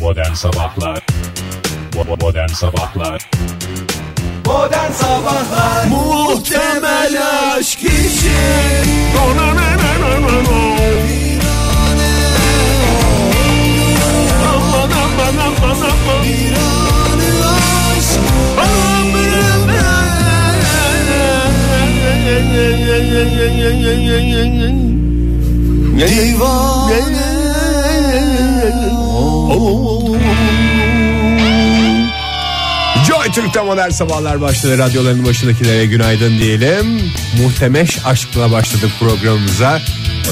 Modern Sabahlar Bo- Modern Sabahlar Modern Sabahlar Muhtemel aşk için Joy Türk'te modern sabahlar başladı. Radyoların başındakilere günaydın diyelim. Muhtemeş aşkla başladık programımıza.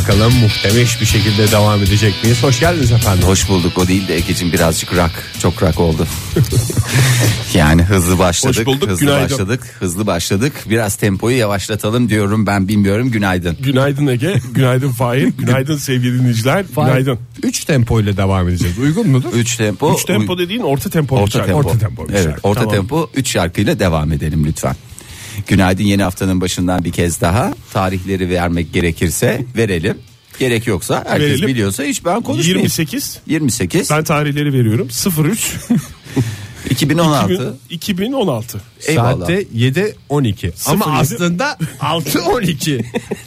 Bakalım muhtemeş bir şekilde devam edecek miyiz? Hoş geldiniz efendim. Hoş bulduk o değil de Ege'cim birazcık rak çok rak oldu. yani hızlı başladık Hoş bulduk, hızlı günaydın. başladık hızlı başladık biraz tempoyu yavaşlatalım diyorum ben bilmiyorum günaydın. Günaydın Ege, günaydın Fahir, günaydın sevgili dinleyiciler, günaydın. 3 tempo ile devam edeceğiz. Uygun mudur? 3 tempo. Üç tempo dediğin orta tempo. uy- bir orta şarkı. tempo. Orta tempo bir evet, şarkı. orta Tamam. tempo 3 şarkıyla devam edelim lütfen. Günaydın yeni haftanın başından bir kez daha tarihleri vermek gerekirse verelim. Gerek yoksa herkes Verelim. biliyorsa hiç ben konuşmayayım. 28. 28 Ben tarihleri veriyorum. 03 2016 2016. Eyvallah. Saatte 7.12 ama yedi. aslında 6.12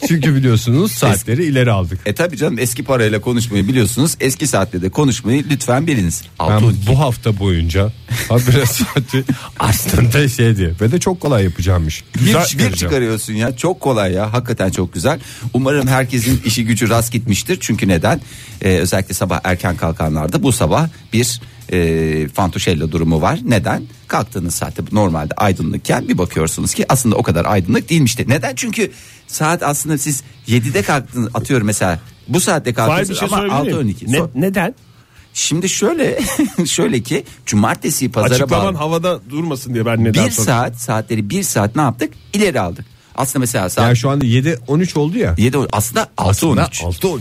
çünkü biliyorsunuz saatleri ileri aldık. E tabi canım eski parayla konuşmayı biliyorsunuz. Eski saatte de konuşmayı lütfen biliniz. Ben Altı- bu hafta boyunca habire saati aslında şey diye ve de çok kolay yapacağımmış. bir, Güzel bir çıkarıyorsun ya çok kolay ya hakikaten çok güzel. Umarım herkesin işi gücü rast gitmiştir. Çünkü neden? Ee, özellikle sabah erken kalkanlarda bu sabah bir e, fantuşella durumu var. Neden? Kalktığınız saatte normalde aydınlıkken bir bakıyorsunuz ki aslında o kadar aydınlık değilmişti. Neden? Çünkü saat aslında siz 7'de kalktınız atıyorum mesela bu saatte Fahir bir kalktınız şey ama sorabilir 6-12. miyim? Ne- Sor- neden? Şimdi şöyle şöyle ki cumartesi pazara bağlı. Açıklaman havada durmasın diye ben neden bir sordum. saat saatleri bir saat ne yaptık? İleri aldık. Aslında mesela saat Yani şu anda 7.13 oldu ya. 7 aslında 6 Aslında 13. 6.13.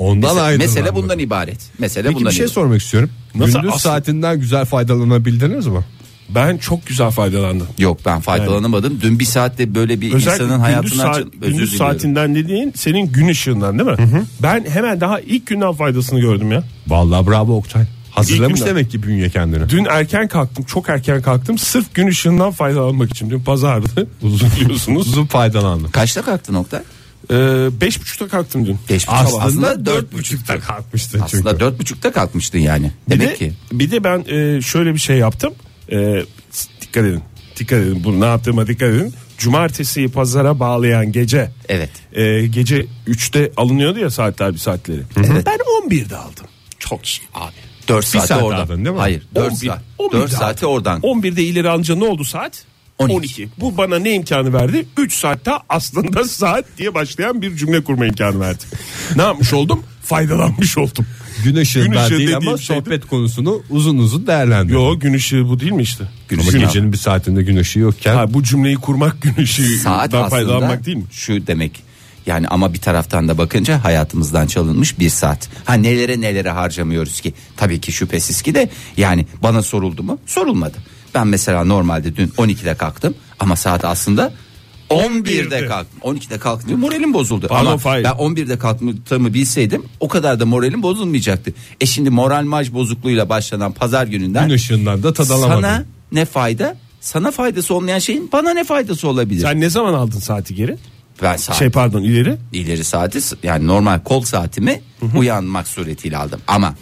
Ondan Mesela, aydınlandım. mesele bundan ibaret. Mesele Peki bundan bir şey ibaret. sormak istiyorum. Nasıl Gündüz aslında- saatinden güzel faydalanabildiniz mi? Ben çok güzel faydalandım. Yok ben faydalanamadım. Dün bir saatte böyle bir Özellikle insanın gündüz, hayatına saat- açın- özür gündüz diliyorum. saatinden dediğin senin gün ışığından değil mi? Ben hemen daha ilk günden faydasını gördüm ya. Vallahi bravo Oktay. Hazırlamış İlk günden. demek ki bünye kendini. Dün erken kalktım çok erken kalktım sırf gün ışığından faydalanmak için. Dün pazardı uzun biliyorsunuz. Uzun faydalandım. Kaçta kalktı nokta? Ee, beş buçukta kalktım dün. Beş buçuk. Aslında, Aslında dört 4.30'da kalkmıştı çünkü. Aslında dört buçukta kalkmıştın yani. Bir Demek de, ki. bir de ben e, şöyle bir şey yaptım. E, s- dikkat edin dikkat edin bunu ne yaptığıma dikkat edin. Cumartesiyi pazara bağlayan gece. Evet. E, gece 3'te alınıyordu ya saatler bir saatleri. Ben 11'de aldım. Çok iyi. Abi 4 saat saat oradan. aldın değil mi? Hayır 4 11 saat. 11'de 4 saati aldım. oradan. 11'de ileri alınca ne oldu saat? 12. 12. Bu bana ne imkanı verdi? 3 saatte aslında saat diye başlayan bir cümle kurma imkanı verdi. ne yapmış oldum? Faydalanmış oldum. Gün ışığından ışığı değil dediğim ama şeydi. sohbet konusunu uzun uzun değerlendirdim. Yo gün ışığı bu değil mi işte? Gün Ama ışığı. gecenin bir saatinde gün ışığı yokken Ha, bu cümleyi kurmak gün saat ışığından aslında faydalanmak değil mi? şu demek. Yani ama bir taraftan da bakınca hayatımızdan çalınmış bir saat. Ha nelere nelere harcamıyoruz ki? Tabii ki şüphesiz ki de yani bana soruldu mu? Sorulmadı. Ben mesela normalde dün 12'de kalktım ama saat aslında 11'de 11'de. kalktım. 12'de kalktım diye moralim bozuldu. Pardon, ama Fahir. ben 11'de kalktığımı bilseydim o kadar da moralim bozulmayacaktı. E şimdi moral maj bozukluğuyla başlanan pazar gününden gün ışığından da tadalamadım. sana ne fayda? Sana faydası olmayan şeyin bana ne faydası olabilir? Sen ne zaman aldın saati geri? ben saat Şey pardon ileri. ileri saati yani normal kol saatimi uyanmak suretiyle aldım ama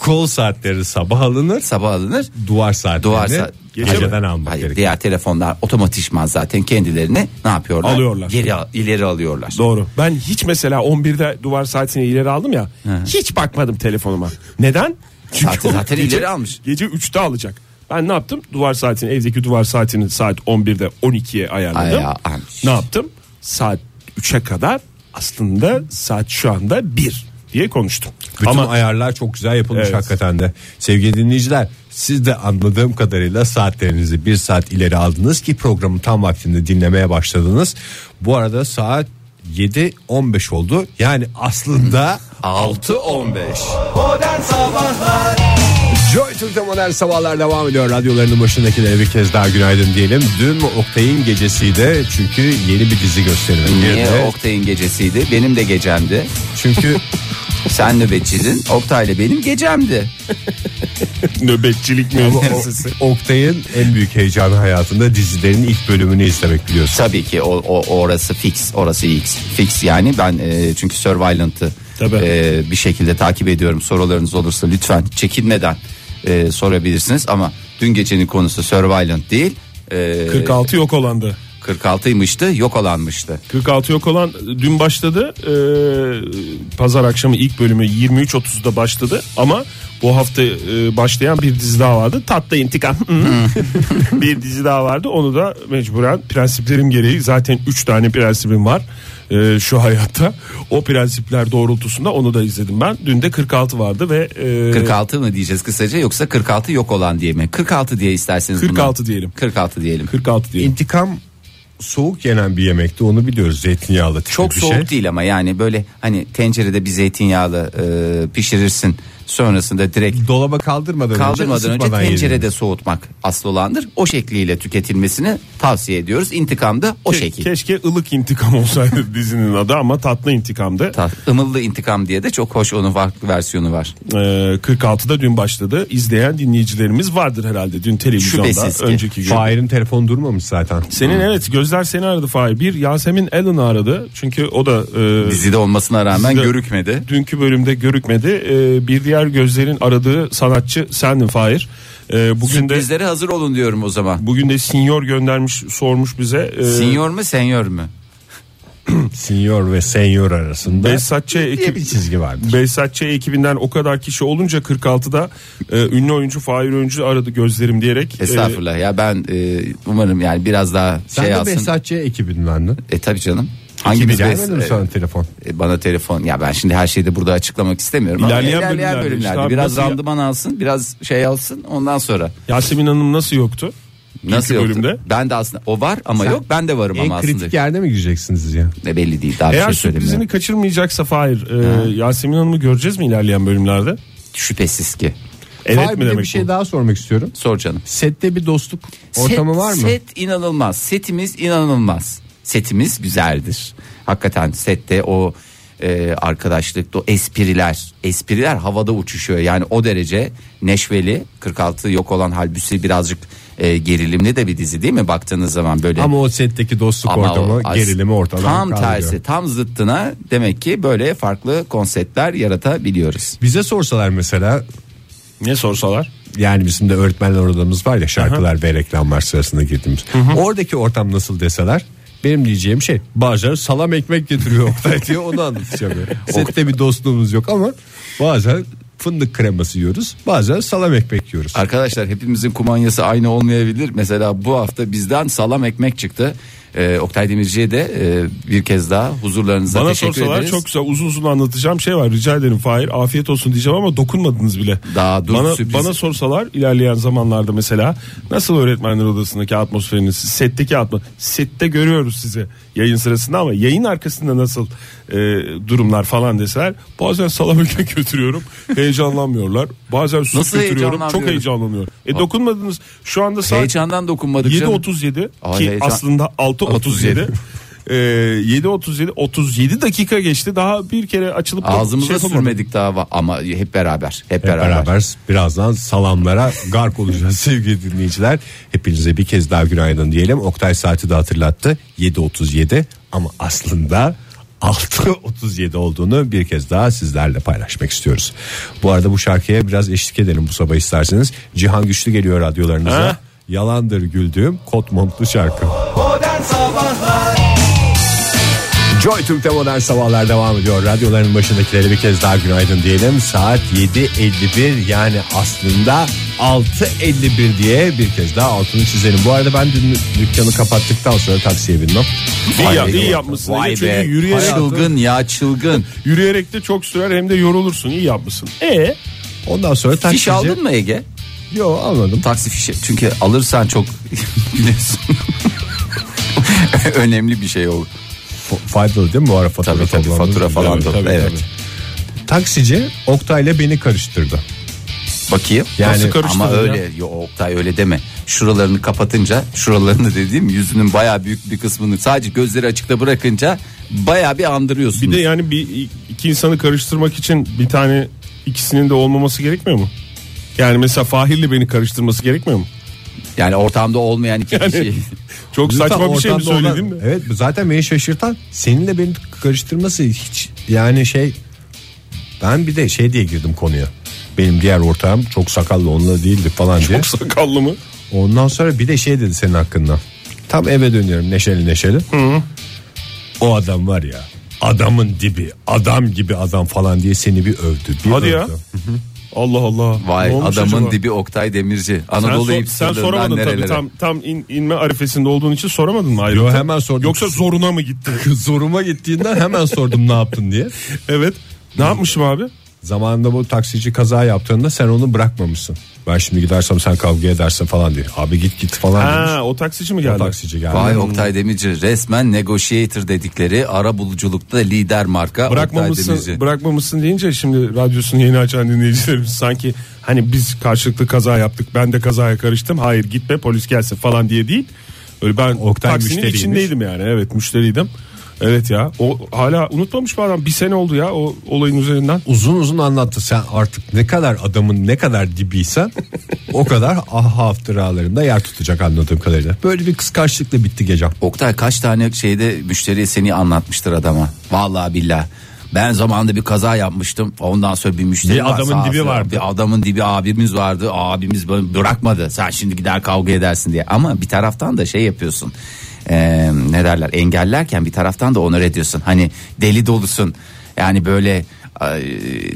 Kol saatleri sabah alınır, sabah alınır duvar saatlerini Duvar saat- geceden almak Hayır, gerekir. diğer telefonlar otomatikman zaten kendilerini ne yapıyorlar? Alıyorlar. Geri al- ileri alıyorlar. Doğru. Ben hiç mesela 11'de duvar saatini ileri aldım ya. Hiç bakmadım telefonuma. Neden? Saati o zaten gece- ileri almış. Gece 3'te alacak. Ben ne yaptım? Duvar saatini evdeki duvar saatini saat 11'de 12'ye ayarladım. Aya- almış. ne yaptım? Saat 3'e kadar aslında saat şu anda 1 diye konuştum. Bütün Ama ayarlar çok güzel yapılmış Evet. hakikaten de. Sevgili dinleyiciler siz de anladığım kadarıyla saatlerinizi bir saat ileri aldınız ki programı tam vaktinde dinlemeye başladınız. Bu arada saat 7.15 oldu. Yani aslında 6.15 Modern Sabahlar Joy Türk'te modern sabahlar devam ediyor. Radyolarının başındakilere bir kez daha günaydın diyelim. Dün Oktay'ın gecesiydi çünkü yeni bir dizi gösterimi Niye girdi. Oktay'ın gecesiydi benim de gecemdi Çünkü Sen nöbetçidin. Oktay'la benim gecemdi. Nöbetçilik mevzusu. Oktay'ın en büyük heyecanı hayatında dizilerin ilk bölümünü izlemek biliyorsun. Tabii ki o, o orası fix, orası X. Fix yani ben e, çünkü Survivalent'ı Tabii. e, bir şekilde takip ediyorum. Sorularınız olursa lütfen çekinmeden e, sorabilirsiniz ama dün gecenin konusu Survivalent değil. E, 46 yok olandı. 46'ymıştı, yok olanmıştı. 46 yok olan dün başladı. Ee, pazar akşamı ilk bölümü 23.30'da başladı ama bu hafta e, başlayan bir dizi daha vardı. Tatlı intikam. bir dizi daha vardı. Onu da mecburen prensiplerim gereği zaten 3 tane prensibim var. e, şu hayatta o prensipler doğrultusunda onu da izledim ben. Dün de 46 vardı ve e, 46 mı diyeceğiz kısaca yoksa 46 yok olan diye mi? 46 diye isterseniz bunu- 46 diyelim. 46 diyelim. 46 diyelim. İntikam soğuk yenen bir yemekti onu biliyoruz zeytinyağlı tipi Çok bir soğuk şey. değil ama yani böyle hani tencerede bir zeytinyağlı e, pişirirsin. Sonrasında direkt Dolaba kaldırmadan, kaldırmadan önce ısıtmadan tencerede yediniz. soğutmak asıl olandır. O şekliyle tüketilmesini tavsiye ediyoruz. İntikam da o Ke- şekil. Keşke ılık intikam olsaydı dizinin adı ama tatlı intikamdı. Ta- Imıllı intikam diye de çok hoş onun farklı versiyonu var. Ee, 46'da dün başladı. İzleyen dinleyicilerimiz vardır herhalde dün televizyonda Şüphesiz ki. önceki gün. Fahir'in telefonu durmamış zaten. Senin evet gözler seni aradı Fahir. Bir Yasemin Allen'ı aradı. Çünkü o da e, Dizide olmasına rağmen Dizide- görükmedi. dünkü bölümde görükmedi. E, bir diğer gözlerin aradığı sanatçı sendin Fahir. E, bugün de Sürprizlere hazır olun diyorum o zaman. bugün de sinyor göndermiş sormuş bize. E, Sinyor mu senyor mu? Senior ve senyor arasında Behzatçı diye ekip bir çizgi vardır. Behzat Ç. ekibinden o kadar kişi olunca 46'da e, ünlü oyuncu Fahir Öncü aradı gözlerim diyerek. e, Estağfurullah ya ben e, umarım yani biraz daha Sen şey de alsın. Behzatçı ekibindendin. E tabi canım. Hangi Kimi bir gelmedi mi sana telefon? bana telefon ya ben şimdi her şeyi de burada açıklamak istemiyorum. ama İlerleyen bölümlerde işte abi, biraz nasıl ya- randıman alsın biraz şey alsın ondan sonra. Yasemin Hanım nasıl yoktu? Nasıl İlk yoktu? bölümde. Ben de aslında o var ama yok ben de varım ama En aslında. kritik yerde mi gireceksiniz ya? Ne belli değil daha bir Eğer şey sürprizini söylemiyorum. kaçırmayacaksa Fahir e, Yasemin Hanım'ı göreceğiz mi ilerleyen bölümlerde? Şüphesiz ki. Evet Fahir mi bir, de demek bir şey bu? daha sormak istiyorum. Sor canım. Sette bir dostluk ortamı Set- var mı? Set inanılmaz. Setimiz inanılmaz. Setimiz güzeldir. Hakikaten sette o e, arkadaşlık, o espriler, espriler havada uçuşuyor. Yani o derece neşveli. 46 yok olan halbüsü birazcık e, gerilimli de bir dizi değil mi baktığınız zaman böyle. Ama o setteki dostluk Ama ortamı, o as- gerilimi ortadan Tam kaldırıyor. tersi, tam zıttına demek ki böyle farklı konseptler yaratabiliyoruz. Bize sorsalar mesela Ne sorsalar? yani bizim de öğretmenler odamız var ya şarkılar ve reklamlar sırasında girdiğimiz. Oradaki ortam nasıl deseler benim diyeceğim şey bazen salam ekmek getiriyor Oktay diye onu anlatacağım. yani. Sette bir dostluğumuz yok ama bazen fındık kreması yiyoruz bazen salam ekmek yiyoruz. Arkadaşlar hepimizin kumanyası aynı olmayabilir. Mesela bu hafta bizden salam ekmek çıktı. Ee, Oktay Demirci'ye de e, bir kez daha huzurlarınıza Bana teşekkür sorsalar ederiz. çok güzel uzun uzun anlatacağım şey var. Rica ederim Fahir. Afiyet olsun diyeceğim ama dokunmadınız bile. Daha dur, bana, sürpriz. bana sorsalar ilerleyen zamanlarda mesela nasıl öğretmenler odasındaki atmosferiniz, setteki atmosfer, sette görüyoruz sizi yayın sırasında ama yayın arkasında nasıl e, durumlar falan deseler bazen salam ekmek götürüyorum. Heyecanlanmıyorlar. Bazen süt Nasıl götürüyorum. Çok heyecanlanmıyorum? heyecanlanıyor. E dokunmadınız. Şu anda saat Heyecandan dokunmadık canım. 7.37 Ay, ki heyecan- aslında 6.37 Ee, 7.37 37 dakika geçti daha bir kere açılıp da Ağzımıza şey yapamadım. sürmedik daha va- ama hep beraber. Hep, Hep beraber. beraber birazdan salamlara gark olacağız sevgili dinleyiciler. Hepinize bir kez daha günaydın diyelim. Oktay saati de hatırlattı. 7.37 ama aslında 6.37 olduğunu bir kez daha sizlerle paylaşmak istiyoruz. Bu arada bu şarkıya biraz eşlik edelim bu sabah isterseniz. Cihan Güçlü geliyor radyolarınıza. Ha? Yalandır güldüğüm kot montlu şarkı. Modern Sabahlar Joy Türk'te modern sabahlar devam ediyor. Radyoların başındakilere bir kez daha günaydın diyelim. Saat 7.51 yani aslında 6.51 diye bir kez daha altını çizelim. Bu arada ben dün dükkanı kapattıktan sonra taksiye bindim. İyi, ya, Vay be. iyi yapmışsın. Vay Ege. Çünkü be. yürüyerek, Çılgın ya çılgın. yürüyerek de çok sürer hem de yorulursun. İyi yapmışsın. E Ondan sonra taksici... Fiş aldın mı Ege? Yok almadım. Taksi fişi. Çünkü alırsan çok biliyorsun. Önemli bir şey olur. F- Faydalı değil mi bu ara fatura Tabii tabii toplandığımız fatura gibi? falan. Evet. da- evet. Taksici Oktay'la beni karıştırdı. Bakayım. Yani- Nasıl karıştırdın ama ya? öyle yo Oktay öyle deme. Şuralarını kapatınca, şuralarını dediğim yüzünün bayağı büyük bir kısmını sadece gözleri açıkta bırakınca bayağı bir andırıyorsun. Bir de yani bir iki insanı karıştırmak için bir tane ikisinin de olmaması gerekmiyor mu? Yani mesela Fahir'le beni karıştırması gerekmiyor mu? Yani ortamda olmayan iki kişi. Çok Lütfen saçma bir şey mi ortamda olan- söyledim mi? Evet zaten beni şaşırtan seninle beni karıştırması hiç yani şey ben bir de şey diye girdim konuya. Benim diğer ortağım çok sakallı onunla değildi falan diye. Çok sakallı mı? Ondan sonra bir de şey dedi senin hakkında. Tam eve dönüyorum neşeli neşeli. O adam var ya adamın dibi adam gibi adam falan diye seni bir övdü. Bir Hadi övdü. ya. Allah Allah. Vay Ne olmuş adamın acaba? dibi Oktay Demirci. Sen, Anadolu sor- sen hipsterlerinden soramadın nerelere. tabii tam, tam in- inme arifesinde olduğun için soramadın mı ayrıntı? Yo, hemen sordum. Yoksa zoruna mı gitti? Zoruma gittiğinden hemen sordum ne yaptın diye. evet. Ne yapmışım abi? Zamanında bu taksici kaza yaptığında sen onu bırakmamışsın. Ben şimdi gidersem sen kavga edersin falan diye. Abi git git falan demiş. Ha, o taksici mi geldi? O taksici geldi. Vay Hmm. Oktay Demirci resmen negotiator dedikleri ara buluculukta lider marka Oktay Bırakmamışsın, Demirci. bırakmamışsın deyince şimdi radyosunu yeni açan dinleyicilerimiz sanki hani biz karşılıklı kaza yaptık ben de kazaya karıştım hayır gitme polis gelsin falan diye değil. Öyle ben Oktay taksinin müşteriymiş. içindeydim yani evet müşteriydim. Evet ya o hala unutmamış bu adam bir sene oldu ya o olayın üzerinden. Uzun uzun anlattı. Sen artık ne kadar adamın ne kadar dibiysen o kadar ah haftıralarında yer tutacak anladığım kadarıyla. Böyle bir kıskançlıkla bitti gece. Oktay kaç tane şeyde müşteriye seni anlatmıştır adama. Vallahi billah. Ben zamanında bir kaza yapmıştım. Ondan sonra bir müşteri Bir var, adamın sağ dibi olsun. vardı. Bir adamın dibi abimiz vardı. Abimiz bana bırakmadı. Sen şimdi gider kavga edersin diye. Ama bir taraftan da şey yapıyorsun. Ee, ne derler engellerken bir taraftan da onur ediyorsun. Hani deli dolusun. Yani böyle ay,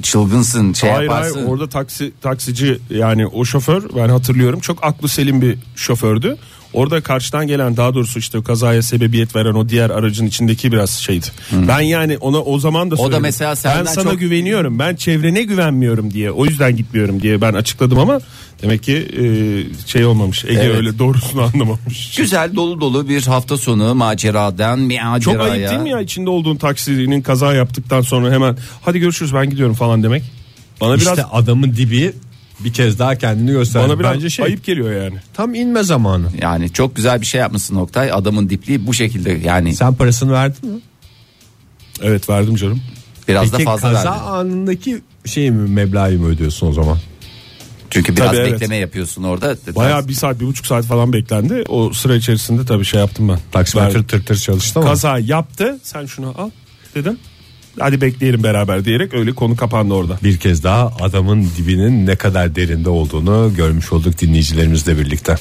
çılgınsın şey hayır yaparsın. hayır orada taksi taksici yani o şoför ben hatırlıyorum çok aklı selim bir şofördü. Orada karşıdan gelen daha doğrusu işte kazaya sebebiyet veren o diğer aracın içindeki biraz şeydi. Ben yani ona o zaman da da söyledim. mesela senden ben sana çok- güveniyorum. Ben çevrene güvenmiyorum diye. O yüzden gitmiyorum diye ben açıkladım ama demek ki e, şey olmamış. Ege Evet. öyle doğrusunu anlamamış. Güzel dolu dolu bir hafta sonu maceradan maceraya. Çok ayıp değil mi ya içinde olduğun taksinin kaza yaptıktan sonra hemen hadi görüşürüz ben gidiyorum falan demek. Bana biraz İşte adamın dibi bir kez daha kendini gösterdi. bana biraz Bence şey ayıp geliyor yani. tam inme zamanı. Yani çok güzel bir şey yapmışsın Oktay. Adamın dipliği bu şekilde yani Sen parasını verdin mi? Evet verdim canım. biraz Peki da fazla kaza verdin. anındaki şey mi meblağı mı ödüyorsun o zaman? Çünkü biraz Tabii, evet. bekleme yapıyorsun orada. Bayağı bir saat bir buçuk saat falan beklendi. O sıra içerisinde tabii şey yaptım ben. Taksimetre Verdim. tır tır çalıştı ama. Kaza yaptı. Sen şunu al dedim. Hadi bekleyelim beraber diyerek öyle konu kapandı orada. Bir kez daha adamın dibinin ne kadar derinde olduğunu görmüş olduk dinleyicilerimizle birlikte.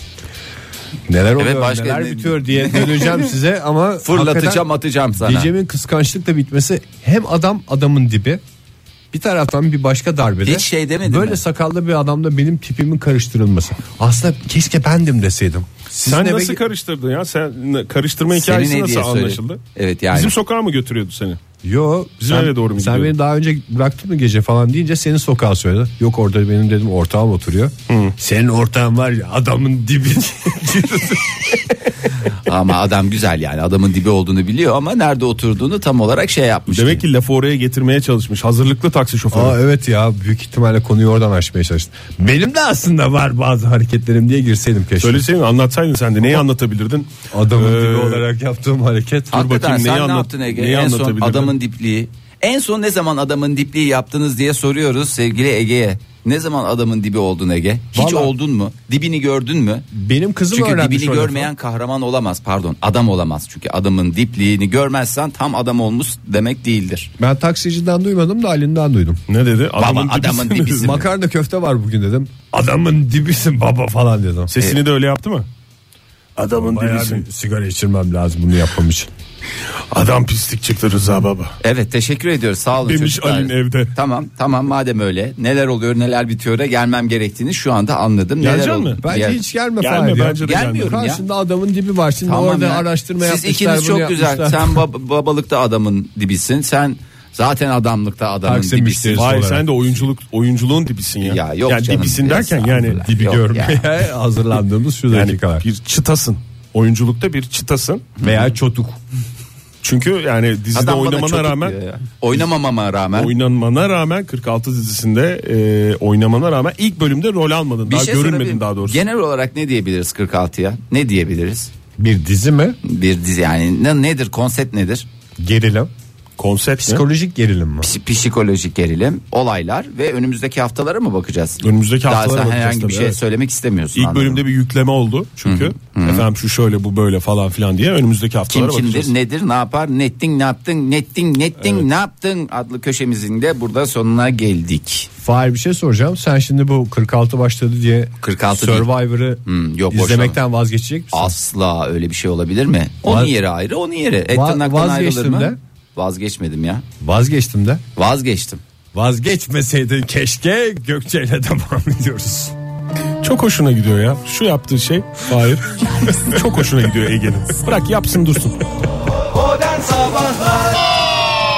Neler oluyor, başka neler ne- bitiyor diye döneceğim size ama fırlatacağım hakikaten atacağım sana. Gecemin kıskançlıkla bitmesi hem adam adamın dibi bir taraftan bir başka darbede. Hiç şey demedi Böyle mi? sakallı bir adamla benim tipimin karıştırılması. Aslında keşke bendim deseydim. Sizin Sen eve- nasıl karıştırdın ya? Sen ne- karıştırma hikayesi Senin nasıl hediye söyle. anlaşıldı? Evet, yani. Bizim sokağa mı götürüyordu seni? Yo Bizim eve doğru Sen mu gidiyordun? beni daha önce bıraktın mı gece falan deyince senin sokağa söyledi. Yok orada benim dedim ortağım oturuyor. Senin ortağın var ya adamın dibi. ama adam güzel yani adamın dibi olduğunu biliyor ama nerede oturduğunu tam olarak şey yapmış. Demek ki lafı oraya getirmeye çalışmış. Hazırlıklı taksi şoförü. Aa evet ya büyük ihtimalle konuyu oradan açmaya çalıştın. Benim de aslında var bazı hareketlerim diye girseydim keşke. Söyleseydin anlatsaydın sen de neyi anlatabilirdin? Adamın Ee, dibi olarak yaptığım hareket. Dur Hakikaten bakayım, sen neyi ne anlat- yaptın Ege? neyi En son anlatabilirdin? adamın dipliği. En son ne zaman adamın dipliği yaptınız diye soruyoruz sevgili Ege'ye. Ne zaman adamın dibi oldun Ege? Hiç Vallahi- oldun mu? Dibini gördün mü? Benim kızım Çünkü öğrenmiş dibini o lafı. görmeyen kahraman olamaz. Pardon, adam olamaz. Çünkü adamın dipliğini görmezsen tam adam olmuş demek değildir. Ben taksiciden duymadım da Ali'nden duydum. Ne dedi? Baba, adamın dibisi mi? dibisi. Bizim- Makarna köfte var bugün dedim. Adamın dibisin baba falan dedim. Sesini de öyle yaptı mı? E, Adamın Bayağı bir sigara içirmem lazım bunu yapmam için. Adam pislik çıktı Rıza baba. Evet, teşekkür ediyoruz. Sağ olun Demiş çocuklar. Ali'nin evde. Tamam, tamam madem öyle. Neler oluyor, neler bitiyor'a gelmem gerektiğini şu anda anladım. Neler Geleceksin ol- mi? Bence Gel- hiç gelme, Gelme, Fahir ya. bence de gelme. Gelmiyorum ya. Karşında adamın dibi var. Şimdi Tamam orada ya. araştırma Siz yapmışlar. ikiniz bunu çok güzel. yapmışlar. Sen bab- babalıkta adamın dibisin. Sen zaten adamlıkta adamın Taksim dibisin. müşterisi. Hayır olarak. E, sen de oyunculuk oyunculuğun dibisin ya. Ya yok yani canım, dibisin biraz derken daha yani böyle. dibi Yok görmeye. ya. hazırlandığımız şu Yani dakikalar. bir çıtasın. Oyunculukta bir çıtasın. Veya çotuk. Çünkü yani dizide Adam bana oynamana çok rağmen diyor ya. oynamamama rağmen oynanmana rağmen 46 dizisinde e, oynamana rağmen ilk bölümde rol almadın. daha görünmedin sorabilirim. daha doğrusu. şey Genel olarak ne diyebiliriz 46'ya? Ne diyebiliriz? Bir dizi mi? Bir dizi yani ne, nedir konsept nedir? Gerilim. Konsept ne? Psikolojik gerilim mi? Psi- Psikolojik gerilim, olaylar ve önümüzdeki haftalara mı bakacağız? Önümüzdeki Daha haftalara sen bakacağız herhangi tabii, bir şey evet. söylemek istemiyorsun. İlk anladım. bölümde bir yükleme oldu çünkü efendim şu şöyle bu böyle falan filan diye önümüzdeki haftalara kim kimdir, bakacağız. nedir, ne yapar, nettin, ne yaptın, nettin, nettin, ne yaptın adlı köşemizin de burada sonuna geldik. Fahir bir şey soracağım. Sen şimdi bu 46 başladı diye 46 değil. Survivor'ı Hmm, yok, izlemekten vazgeçecek misin? Asla öyle bir şey olabilir mi? Onun Vaz- yeri ayrı, onun yeri. Etten Va- ayrılır vazgeçtim mı? de. Vazgeçmedim ya. Vazgeçtim de. Vazgeçtim. Vazgeçmeseydin keşke Gökçe'yle devam ediyoruz. Çok hoşuna gidiyor ya. Şu yaptığı şey hayır. Çok hoşuna gidiyor Ege'nin. Bırak yapsın dursun. Modern Sabahlar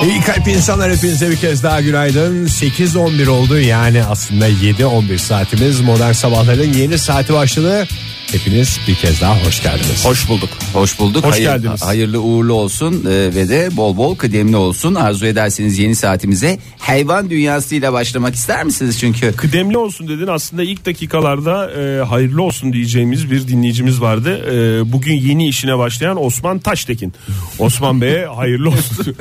İyi kalp insanlar hepinize bir kez daha günaydın. 8.11 oldu yani aslında 7.11 saatimiz. Modern Sabahların yeni saati başladı. Hepiniz bir kez daha hoş geldiniz. Hoş bulduk. Hoş bulduk. Hoş geldiniz. Hayırlı uğurlu olsun e, ve de bol bol kıdemli olsun. Arzu ederseniz yeni saatimize hayvan dünyasıyla başlamak ister misiniz? Çünkü Kıdemli olsun dedin aslında ilk dakikalarda e, hayırlı olsun diyeceğimiz bir dinleyicimiz vardı. E, bugün yeni işine başlayan Osman Taştekin. Osman Bey'e hayırlı olsun.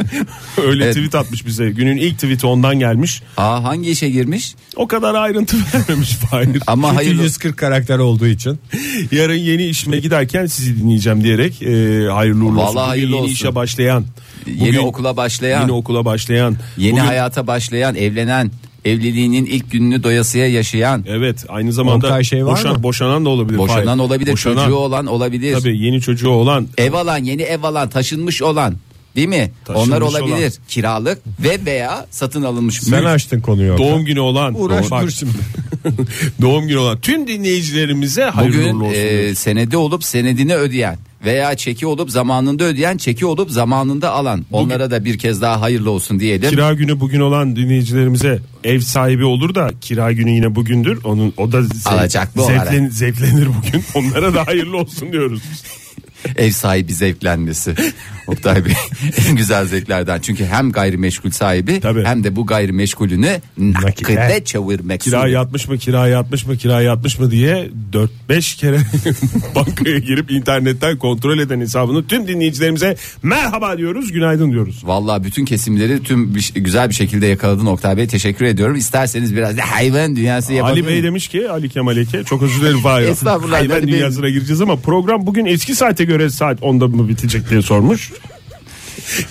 Öyle Evet. tweet atmış bize. Günün ilk tweeti ondan gelmiş. aa, hangi işe girmiş? O kadar ayrıntı vermemiş Fahir. Ama Çünkü hayırlı 140 karakter olduğu için. Yarın yeni işime giderken sizi dinleyeceğim diyerek e, hayırlı uğurlu Vallahi olsun. Bugün hayırlı yeni olsun. işe başlayan. yeni okula başlayan, Yeni yeni, okula başlayan. bugün- hayata başlayan, evlenen, evliliğinin ilk gününü doyasıya yaşayan, Evet aynı zamanda Oktay şey var boşan, mı? boşanan da olabilir. boşanan Hayır. olabilir, Boşanan, çocuğu olan olabilir. Tabii yeni çocuğu olan Ev alan, yeni ev alan, taşınmış olan değil mi? Taşınmış Onlar olabilir. Kiralık ve veya satın alınmış. Sen mülk. açtın konuyu. doğum günü olan Uğraş Bak, dur şimdi. doğum günü olan tüm dinleyicilerimize hayırlı Bugün uğurlu olsun. e, senedi olup senedini ödeyen veya çeki olup zamanında ödeyen, çeki olup zamanında alan. Onlara da bir kez daha hayırlı olsun diyelim. Kira günü bugün olan dinleyicilerimize ev sahibi olur da kira günü yine bugündür. Onun o da zevk- Alacaklı olarak. zevklen, zevklenir bugün. Onlara da hayırlı olsun diyoruz. Ev sahibi zevklenmesi. Oktay Bey en güzel zevklerden. Çünkü hem gayrimeşgul sahibi Tabii. hem de bu gayrimeşgulünü nakite çevirmek. Kira yatmış mı kira yatmış mı kira yatmış mı diye 4-5 kere bankaya girip internetten kontrol eden hesabını tüm dinleyicilerimize merhaba diyoruz günaydın diyoruz. Vallahi bütün kesimleri tüm bir- güzel bir şekilde yakaladın Oktay Bey. Teşekkür ediyorum. İsterseniz biraz da hayvan dünyası yapalım. Ali Bey demiş ki Ali Kemal Eke çok özür dilerim Fahir. Estağfurullah, Hayvan Ali Bey. dünyasına gireceğiz ama program bugün eski saate göre saat 10'da mı bitecek diye sormuş.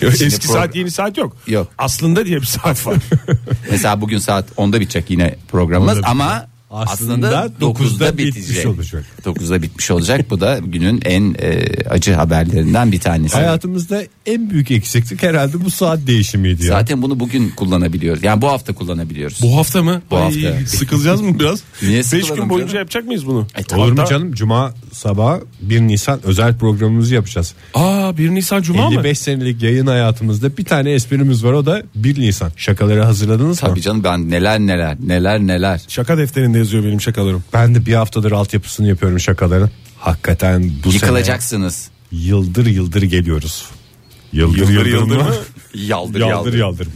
eski program- saat yeni saat yok. Yok. Aslında diye bir saat var. Mesela bugün saat 10'da bitecek yine programımız ama Aslında aslında 9'da dokuzda bitmiş bitecek. olacak. 9'da bitmiş olacak. Bu da günün en e, acı haberlerinden bir tanesi. Hayatımızda en büyük eksiklik herhalde bu saat değişimiydi ya. Zaten bunu bugün kullanabiliyoruz. Yani bu hafta kullanabiliyoruz. Bu hafta mı? Bu Ay, hafta. Sıkılacağız mı biraz? Niye 5 sıkılalım gün boyunca canım? yapacak mıyız bunu? E, tamam. Olur mu Hatta- canım? Cuma sabah 1 Nisan özel programımızı yapacağız. Aa 1 Nisan Cuma mı? 55 senelik yayın hayatımızda bir tane esprimiz var o da 1 Nisan. Şakaları hazırladınız mı? Tabii canım ben neler neler neler neler. Şaka defterinde yazıyor benim şakalarım. Ben de bir haftadır altyapısını yapıyorum şakaların. Hakikaten bu sene Yıkılacaksınız. yıldır yıldır geliyoruz. Yıldır yıldır, mı? Yaldır Yaldır yaldır. yaldır, mı?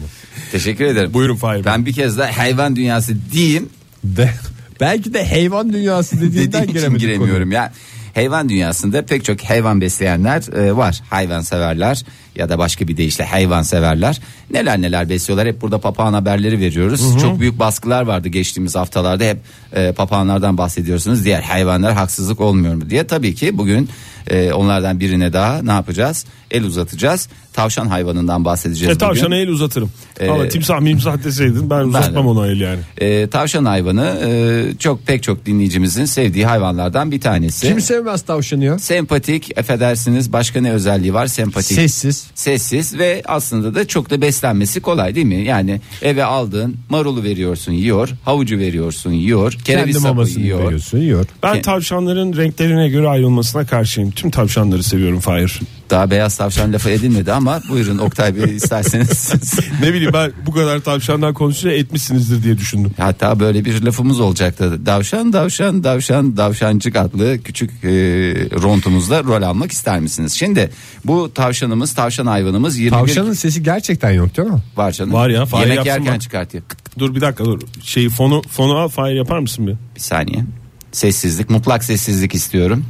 Teşekkür ederim. Buyurun Fahir Bey. Ben bir kez daha hayvan dünyası diyeyim. De, belki de hayvan dünyası dediğinden dediğim için giremedik giremiyorum ya. Hayvan dünyasında pek çok hayvan besleyenler e, var. Hayvan severler ya da başka bir deyişle hayvan severler. Neler neler besliyorlar. Hep burada papağan haberleri veriyoruz. Çok büyük baskılar vardı geçtiğimiz haftalarda. Hep e, papağanlardan bahsediyorsunuz. Diğer hayvanlar haksızlık olmuyor mu diye. Tabii ki bugün e, onlardan birine daha ne yapacağız? El uzatacağız. Tavşan hayvanından bahsedeceğiz E, tavşana bugün. el uzatırım. Valla timsah mimsah deseydin Ee, ben uzatmam ona el yani. E, tavşan hayvanı e, çok pek çok dinleyicimizin sevdiği hayvanlardan bir tanesi. Kim sevmez tavşanı ya? Sempatik affedersiniz başka ne özelliği var sempatik? Sessiz. Sessiz ve aslında da çok da beslenmesi kolay değil mi? Yani eve aldığın marulu veriyorsun yiyor, havucu veriyorsun yiyor, kereviz Kendi sapı mamasını yiyor. veriyorsun yiyor. Ben Ke- tavşanların renklerine göre ayrılmasına karşıyım. Tüm tavşanları seviyorum Fahir. Daha beyaz tavşan lafı edilmedi ama buyurun Oktay Bey isterseniz. Ne bileyim ben bu kadar tavşandan konuşunca etmişsinizdir diye düşündüm. Hatta böyle bir lafımız olacaktı. Davşan davşan davşan davşancık adlı küçük e, rontumuzda rol almak ister misiniz? Şimdi bu tavşanımız tavşan hayvanımız 21 Tavşanın sesi gerçekten yok değil mi? var canım. Var ya, fare Yemek yapsın yerken bak. çıkartıyor. Kıt, Dur bir dakika dur. Şeyi fonu fonu al Fahir yapar mısın bir? Bir saniye. Sessizlik mutlak sessizlik istiyorum.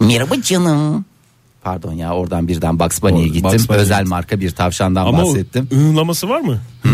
Merhaba canım. Pardon ya oradan birden Bugs Bunny'e Doğru, gittim. Bugs Bunny. Özel marka bir tavşandan Ama o bahsettim. ığınlaması var mı?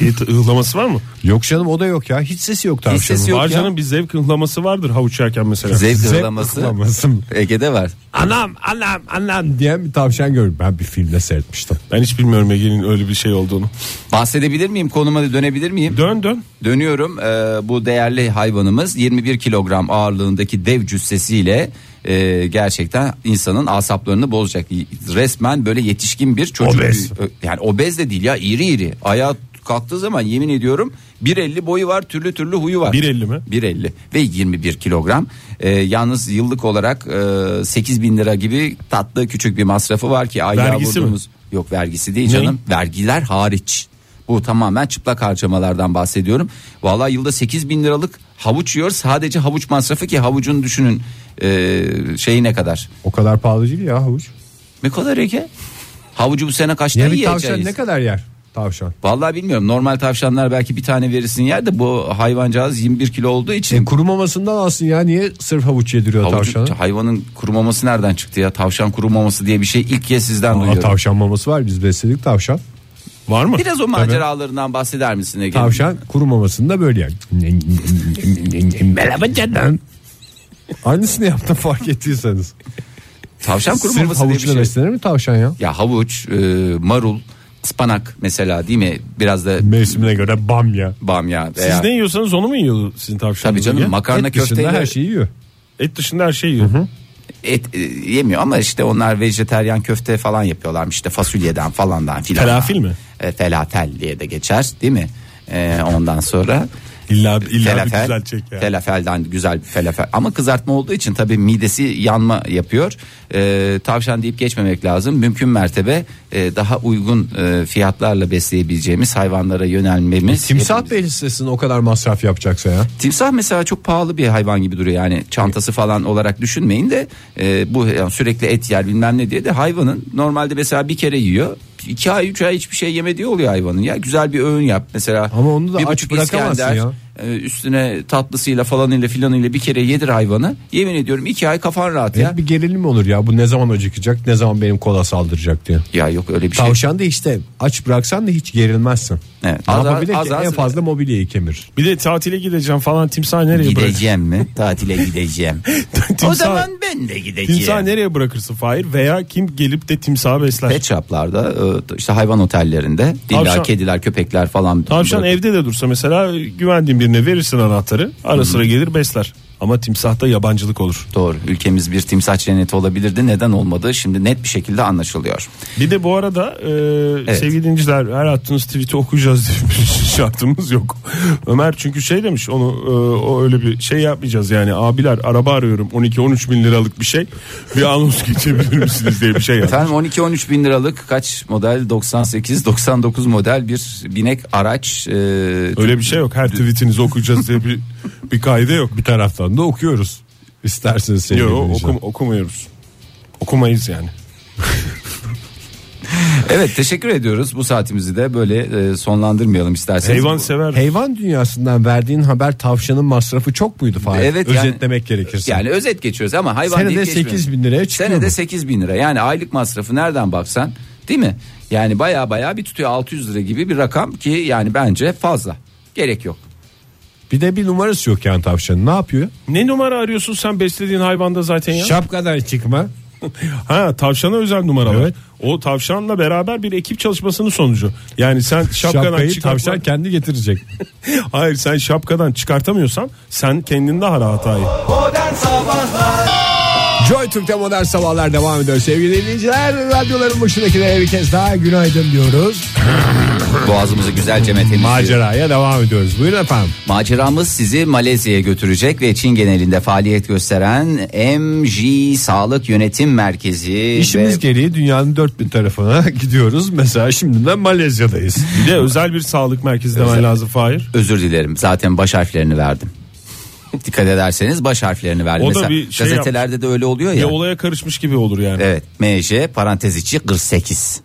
diye t- ığınlaması var mı? Yok canım o da yok ya. Hiç sesi yok tavşanın. sesi yok. var ya. canım bir zevk ığınlaması vardır havuç yerken mesela. Zevk Zevk zırlaması ıhlaması mı? Ege'de var. Anam anam anam diyen bir tavşan gördüm. Ben bir filmde seyretmiştim. Ben hiç bilmiyorum Ege'nin öyle bir şey olduğunu. Bahsedebilir miyim konuma da dönebilir miyim? Dön dön. Dönüyorum Ee, bu değerli hayvanımız 21 kilogram ağırlığındaki dev cüssesiyle e, gerçekten insanın asaplarını bozacak. Resmen böyle yetişkin bir çocuk. Obez. Ö- Yani obez de değil ya iri iri. Ayağa kalktığı zaman yemin ediyorum 1.50 boyu var türlü türlü huyu var. 1.50 mi? 1.50 ve 21 kilogram. Ee, yalnız yıllık olarak e, 8 bin lira gibi tatlı küçük bir masrafı var ki aylığa Vergisi mi? vurduğumuz. Yok vergisi değil canım. Vergiler hariç. Bu tamamen çıplak harcamalardan bahsediyorum. Vallahi yılda 8 bin liralık havuç yiyor. Sadece havuç masrafı ki havucun düşünün e, şeyi ne kadar. O kadar pahalı değil ya havuç. Ne kadar Ege? Havucu bu sene kaçta Yani bir yiyeceğiz? tavşan ne kadar yer? Tavşan. Vallahi bilmiyorum. Normal tavşanlar belki bir tane verirsin yer de bu hayvancağız 21 kilo olduğu için. E, kurumamasından alsın ya niye sırf havuç yediriyor Havucu- tavşana? hayvanın kurumaması nereden çıktı ya? Tavşan kurumaması diye bir şey ilk kez sizden Aa, duyuyorum. tavşan maması var biz besledik tavşan. Var mı? Biraz o maceralarından bahseder misin Ege? Tavşan kurumamasını da böyle yani. Merhaba canım. Aynısını yaptım fark ettiyseniz. Tavşan Sırf kurumaması diye bir havuçla şey. beslenir mi tavşan ya? Ya havuç, e, marul, ıspanak mesela değil mi? Biraz da Mevsimine göre bam ya. bamya Siz veya... ne yiyorsanız onu mu yiyor sizin tavşanınız? Tabii canım Ege? makarna Et dışında köfteyle her şeyi yiyor. Et dışında her şeyi yiyor. et e, yemiyor ama işte onlar vejeteryan köfte falan yapıyorlarmış işte fasulyeden falandan filan. Falafil mi? E, felatel diye de geçer değil mi? E, ondan sonra İlla, illa bir Falafel. düzeltecek ya. Falafelden güzel bir falafel. Ama kızartma olduğu için tabii midesi yanma yapıyor. Ee, tavşan deyip geçmemek lazım. Mümkün mertebe e, daha uygun e, fiyatlarla besleyebileceğimiz hayvanlara E, yönelmemiz. Timsah Hepimiz- beslesin o kadar masraf yapacaksa ya. Timsah mesela çok pahalı bir hayvan gibi duruyor. Yani çantası falan olarak düşünmeyin de e, bu yani sürekli et yer bilmem ne diye de hayvanın normalde mesela bir kere yiyor. 2 ay 3 ay hiçbir şey yemediği oluyor hayvanın ya güzel bir öğün yap mesela Ama onu da bir aç buçuk bırakamazsın İskender, ya. e, üstüne tatlısıyla falanıyla filanıyla bir kere yedir hayvanı yemin ediyorum iki ay kafan rahat ya Hep bir gerilim olur ya bu ne zaman acıkacak ne zaman benim kola saldıracak diye. ya yok öyle bir şey E? Tavşan da işte aç bıraksan da hiç gerilmezsin. Evet. Ne Az- yapabilir az- ki? az- en fazla mobilyayı kemir. Bir de tatile gideceğim falan timsah nereye bırakırsın? gideceğim mi tatile gideceğim o Timsah- zaman ben de gideceğim Timsah nereye bırakırsın Fahir? Veya kim gelip de timsahı besler? Pet shoplarda e, işte hayvan otellerinde illa Tavşan- kediler köpekler falan. Tavşan Bırak- evde de dursa mesela güvendiğin birine verirsin anahtarı ara sıra gelir besler. Ama timsahta yabancılık olur. Doğru ülkemiz bir timsah cenneti olabilirdi neden olmadı şimdi net bir şekilde anlaşılıyor. Bir de bu arada e, Evet. sevgili dinleyiciler her attığınız tweet'i okuyacağız diye bir şartımız yok. Ömer çünkü şey demiş onu e, o öyle bir şey yapmayacağız yani abiler araba arıyorum 12-13 bin liralık bir şey bir anons geçebilir misiniz diye bir şey yapmış. Efendim 12-13 bin liralık kaç model 98-99 model bir binek araç. e, Öyle bir şey yok her tweet'inizi okuyacağız diye bir, bir kaide yok. Bir taraftan da okuyoruz. İsterseniz sevgili Yok dinleyiciler. okum, okumuyoruz. Okumayız yani. Evet teşekkür ediyoruz bu saatimizi de böyle e, sonlandırmayalım isterseniz. Hayvan Bu- sever. Hayvan dünyasından verdiğin haber tavşanın masrafı çok muydu Fahir? Evet, yani- Özetlemek gerekirse. Yani özet geçiyoruz ama hayvan Senede deyip geçmiyoruz. 8 bin liraya çıkıyor Senede mu? 8 bin lira yani aylık masrafı nereden baksan değil mi? Yani baya baya bir tutuyor 600 lira gibi bir rakam ki yani bence fazla. Gerek yok. Bir de bir numarası yok yani tavşanın. Ne yapıyor? Ne numara arıyorsun sen beslediğin hayvanda zaten ya? Şapkadan çıkma. Ha tavşana özel numara var. Evet. O tavşanla beraber bir ekip çalışmasının sonucu. Yani sen şapkadan Şapkayı çıkartma- tavşan kendi getirecek. Hayır sen şapkadan çıkartamıyorsan sen kendin daha rahat hayır. Modern Sabahlar Joy Türk'te modern sabahlar devam ediyor sevgili dinleyiciler. Radyoların başındakilere bir kez daha günaydın diyoruz. Boğazımızı güzelce temizliyor. Maceraya devam ediyoruz. Buyurun efendim. Maceramız sizi Malezya'ya götürecek ve Çin genelinde faaliyet gösteren MG Sağlık Yönetim Merkezi. İşimiz ve- gereği dünyanın dört bir tarafına gidiyoruz. Mesela şimdiden Malezya'dayız. Bir de özel bir sağlık merkezi demen lazım Fahir. Özür dilerim zaten baş harflerini verdim. Dikkat ederseniz baş harflerini verdim. O da Mesela bir şey gazetelerde de öyle oluyor Bir ya. olaya karışmış gibi olur yani. Evet MJ parantez içi 48.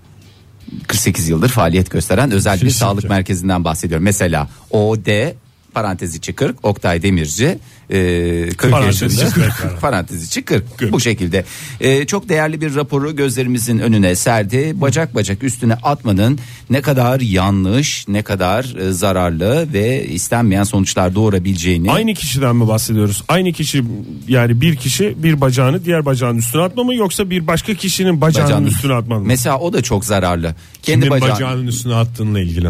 48 yıldır faaliyet gösteren özel bir sağlık merkezinden bahsediyorum. Mesela OD parantez içi 40 Oktay Demirci e, 40 Parantez yaşında. içi 40. parantez içi 40. Bu şekilde. E, çok değerli bir raporu gözlerimizin önüne serdi. Bacak bacak üstüne atmanın ne kadar yanlış, ne kadar e, zararlı ve istenmeyen sonuçlar doğurabileceğini. Aynı kişiden mi bahsediyoruz? Aynı kişi yani bir kişi bir bacağını diğer bacağının üstüne atma mı yoksa bir başka kişinin bacağının, bacağının- üstüne atma mı? Mesela o da çok zararlı. Kendi Kimin bacağı- bacağının üstüne attığınla ilgili.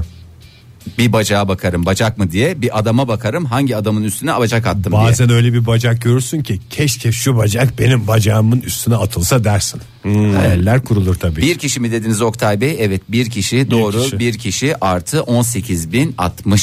bir bacağa bakarım bacak mı diye bir adama bakarım hangi adamın üstüne bacak attım diye. Bazen öyle bir bacak görürsün ki keşke şu bacak benim bacağımın üstüne atılsa dersin. Eller kurulur tabii. Hmm. Bir kişi mi dediniz Oktay Bey? Evet bir kişi doğru bir kişi, kişi. artı 18.060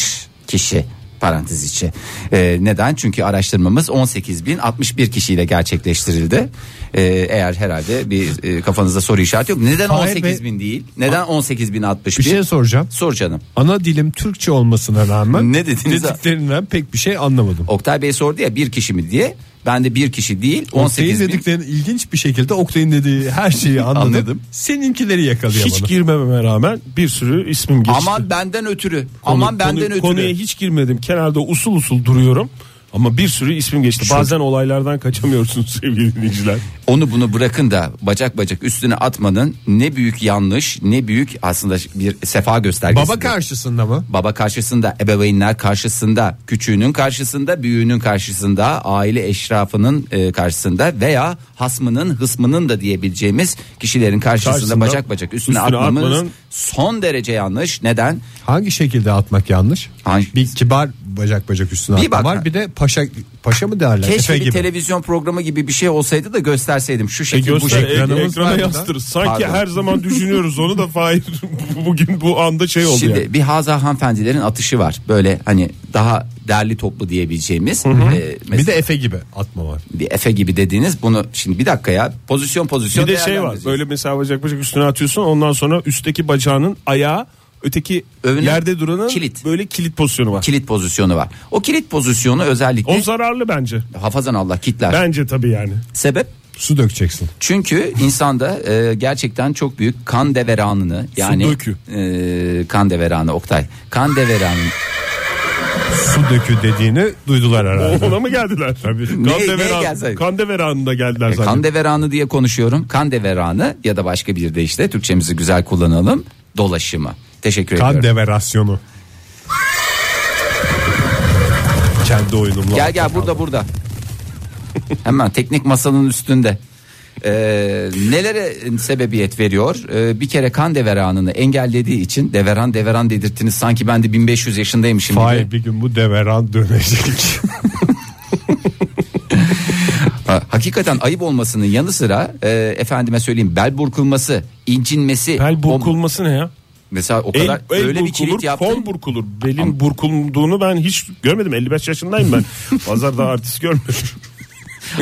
kişi parantez içi. Ee, neden? Çünkü araştırmamız 18.061 kişiyle gerçekleştirildi. Ee, eğer herhalde bir e, kafanızda soru işareti yok. Neden Hayır 18.000 değil? Neden 18.061? Bir şey soracağım. Sor canım. Ana dilim Türkçe olmasına rağmen Ne dediniz? dediklerinden pek bir şey anlamadım. Oktay Bey sordu ya bir kişi mi diye. Ben de bir kişi değil Oktay'ın 18.000. dediklerini ilginç bir şekilde Oktay'ın dediği her şeyi anladım. Anladım. Seninkileri yakalayamadım. Hiç girmememe rağmen bir sürü ismim geçti. Aman benden ötürü. Konu- Aman benden konu- ötürü. Konuya hiç girmedim. Kenarda usul usul duruyorum. Ama bir sürü ismim geçti. Bazen olaylardan kaçamıyorsunuz sevgili dinleyiciler. Onu bunu bırakın da bacak bacak üstüne atmanın ne büyük yanlış ne büyük aslında bir sefa göstergesi. Baba karşısında mı? Baba karşısında, ebeveynler karşısında, küçüğünün karşısında, büyüğünün karşısında, aile eşrafının e, karşısında veya hasmının, hısmının da diyebileceğimiz kişilerin karşısında, Karşısında, bacak bacak üstüne, üstüne atmamız atmanın- son derece yanlış. Neden? Hangi şekilde atmak yanlış? Hangi- Bir kibar bacak bacak üstüne Bir atma bak- var. Bir de paşa paşa mı derler? Keşke Efe bir gibi. televizyon programı gibi bir şey olsaydı da gösterseydim. Şu E şekil bu göster şekil. ek- ekranımız var ekrana mı da? yastır. Sanki Pardon. her zaman düşünüyoruz onu da Fahir bugün bu anda şey oldu Şimdi yani. bir Haza hanımefendilerin atışı var. Böyle hani daha derli toplu diyebileceğimiz. e, bir mesela de Efe gibi atma var. bir Efe gibi dediğiniz bunu şimdi bir dakika ya pozisyon pozisyon. Bir de şey var değerlendireceğiz. böyle mesela bacak bacak üstüne atıyorsun ondan sonra üstteki bacağının ayağı öteki Övünün- yerde duranın Kilit. böyle kilit pozisyonu var. kilit pozisyonu var. O kilit pozisyonu O özellikle zararlı bence. hafazan Allah kitler. Bence tabii yani. Sebep Su dökeceksin. çünkü insanda e, gerçekten çok büyük kan deveranını yani dökü. e, kan deveranı Oktay. Kan deveranı Su dökü dediğini duydular herhalde. O- Ona mı geldiler? Tabii. Kan, Neye- E, neye deveran, gelseydi? kan deveranında geldiler zaten. Kan deveranı diye konuşuyorum. Kan deveranı ya da başka bir de işte Türkçemizi güzel kullanalım. Dolaşımı. Teşekkür Kan ediyorum. deverasyonu. Kendi oyunumla. Gel gel burada burada. Hemen teknik masanın üstünde. Ee, nelere sebebiyet veriyor? Ee, bir kere kan deveranını engellediği için deveran deveran dedirttiniz sanki ben de 1500 yaşındaymışım gibi. Fahir bir gün bu deveran dönecek. Ha, hakikaten ayıp olmasının yanı sıra e, efendime söyleyeyim bel burkulması, incinmesi. Bel bom- burkulması ne ya? Mesela o El, kadar el öyle bir burkulur, kilit yaptım. kol burkulur. Belin burkulduğunu ben hiç görmedim. 55 yaşındayım ben. Pazarda artist görmedim.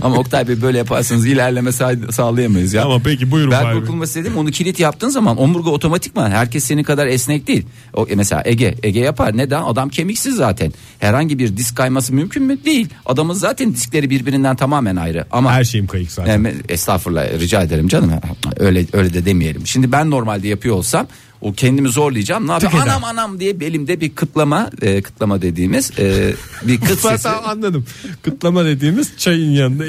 Ama Oktay Bey böyle yaparsanız ilerleme sağ- sağlayamayız ya. Ama peki buyurun Bel Fahir Bey. burkulması dedim onu kilit yaptığın zaman omurga otomatikman herkes senin kadar esnek değil. O, e, mesela Ege Ege yapar neden adam kemiksiz zaten herhangi bir disk kayması mümkün mü değil adamın zaten diskleri birbirinden tamamen ayrı ama Her şeyim kayık zaten. Yani, estağfurullah rica ederim canım öyle öyle de demeyelim şimdi ben normalde yapıyor olsam o kendimi zorlayacağım ne yapayım Tık eder. anam anam diye belimde bir kıtlama e, kıtlama dediğimiz e, bir kıt sesi Zaten anladım. Kıtlama dediğimiz çayın yanında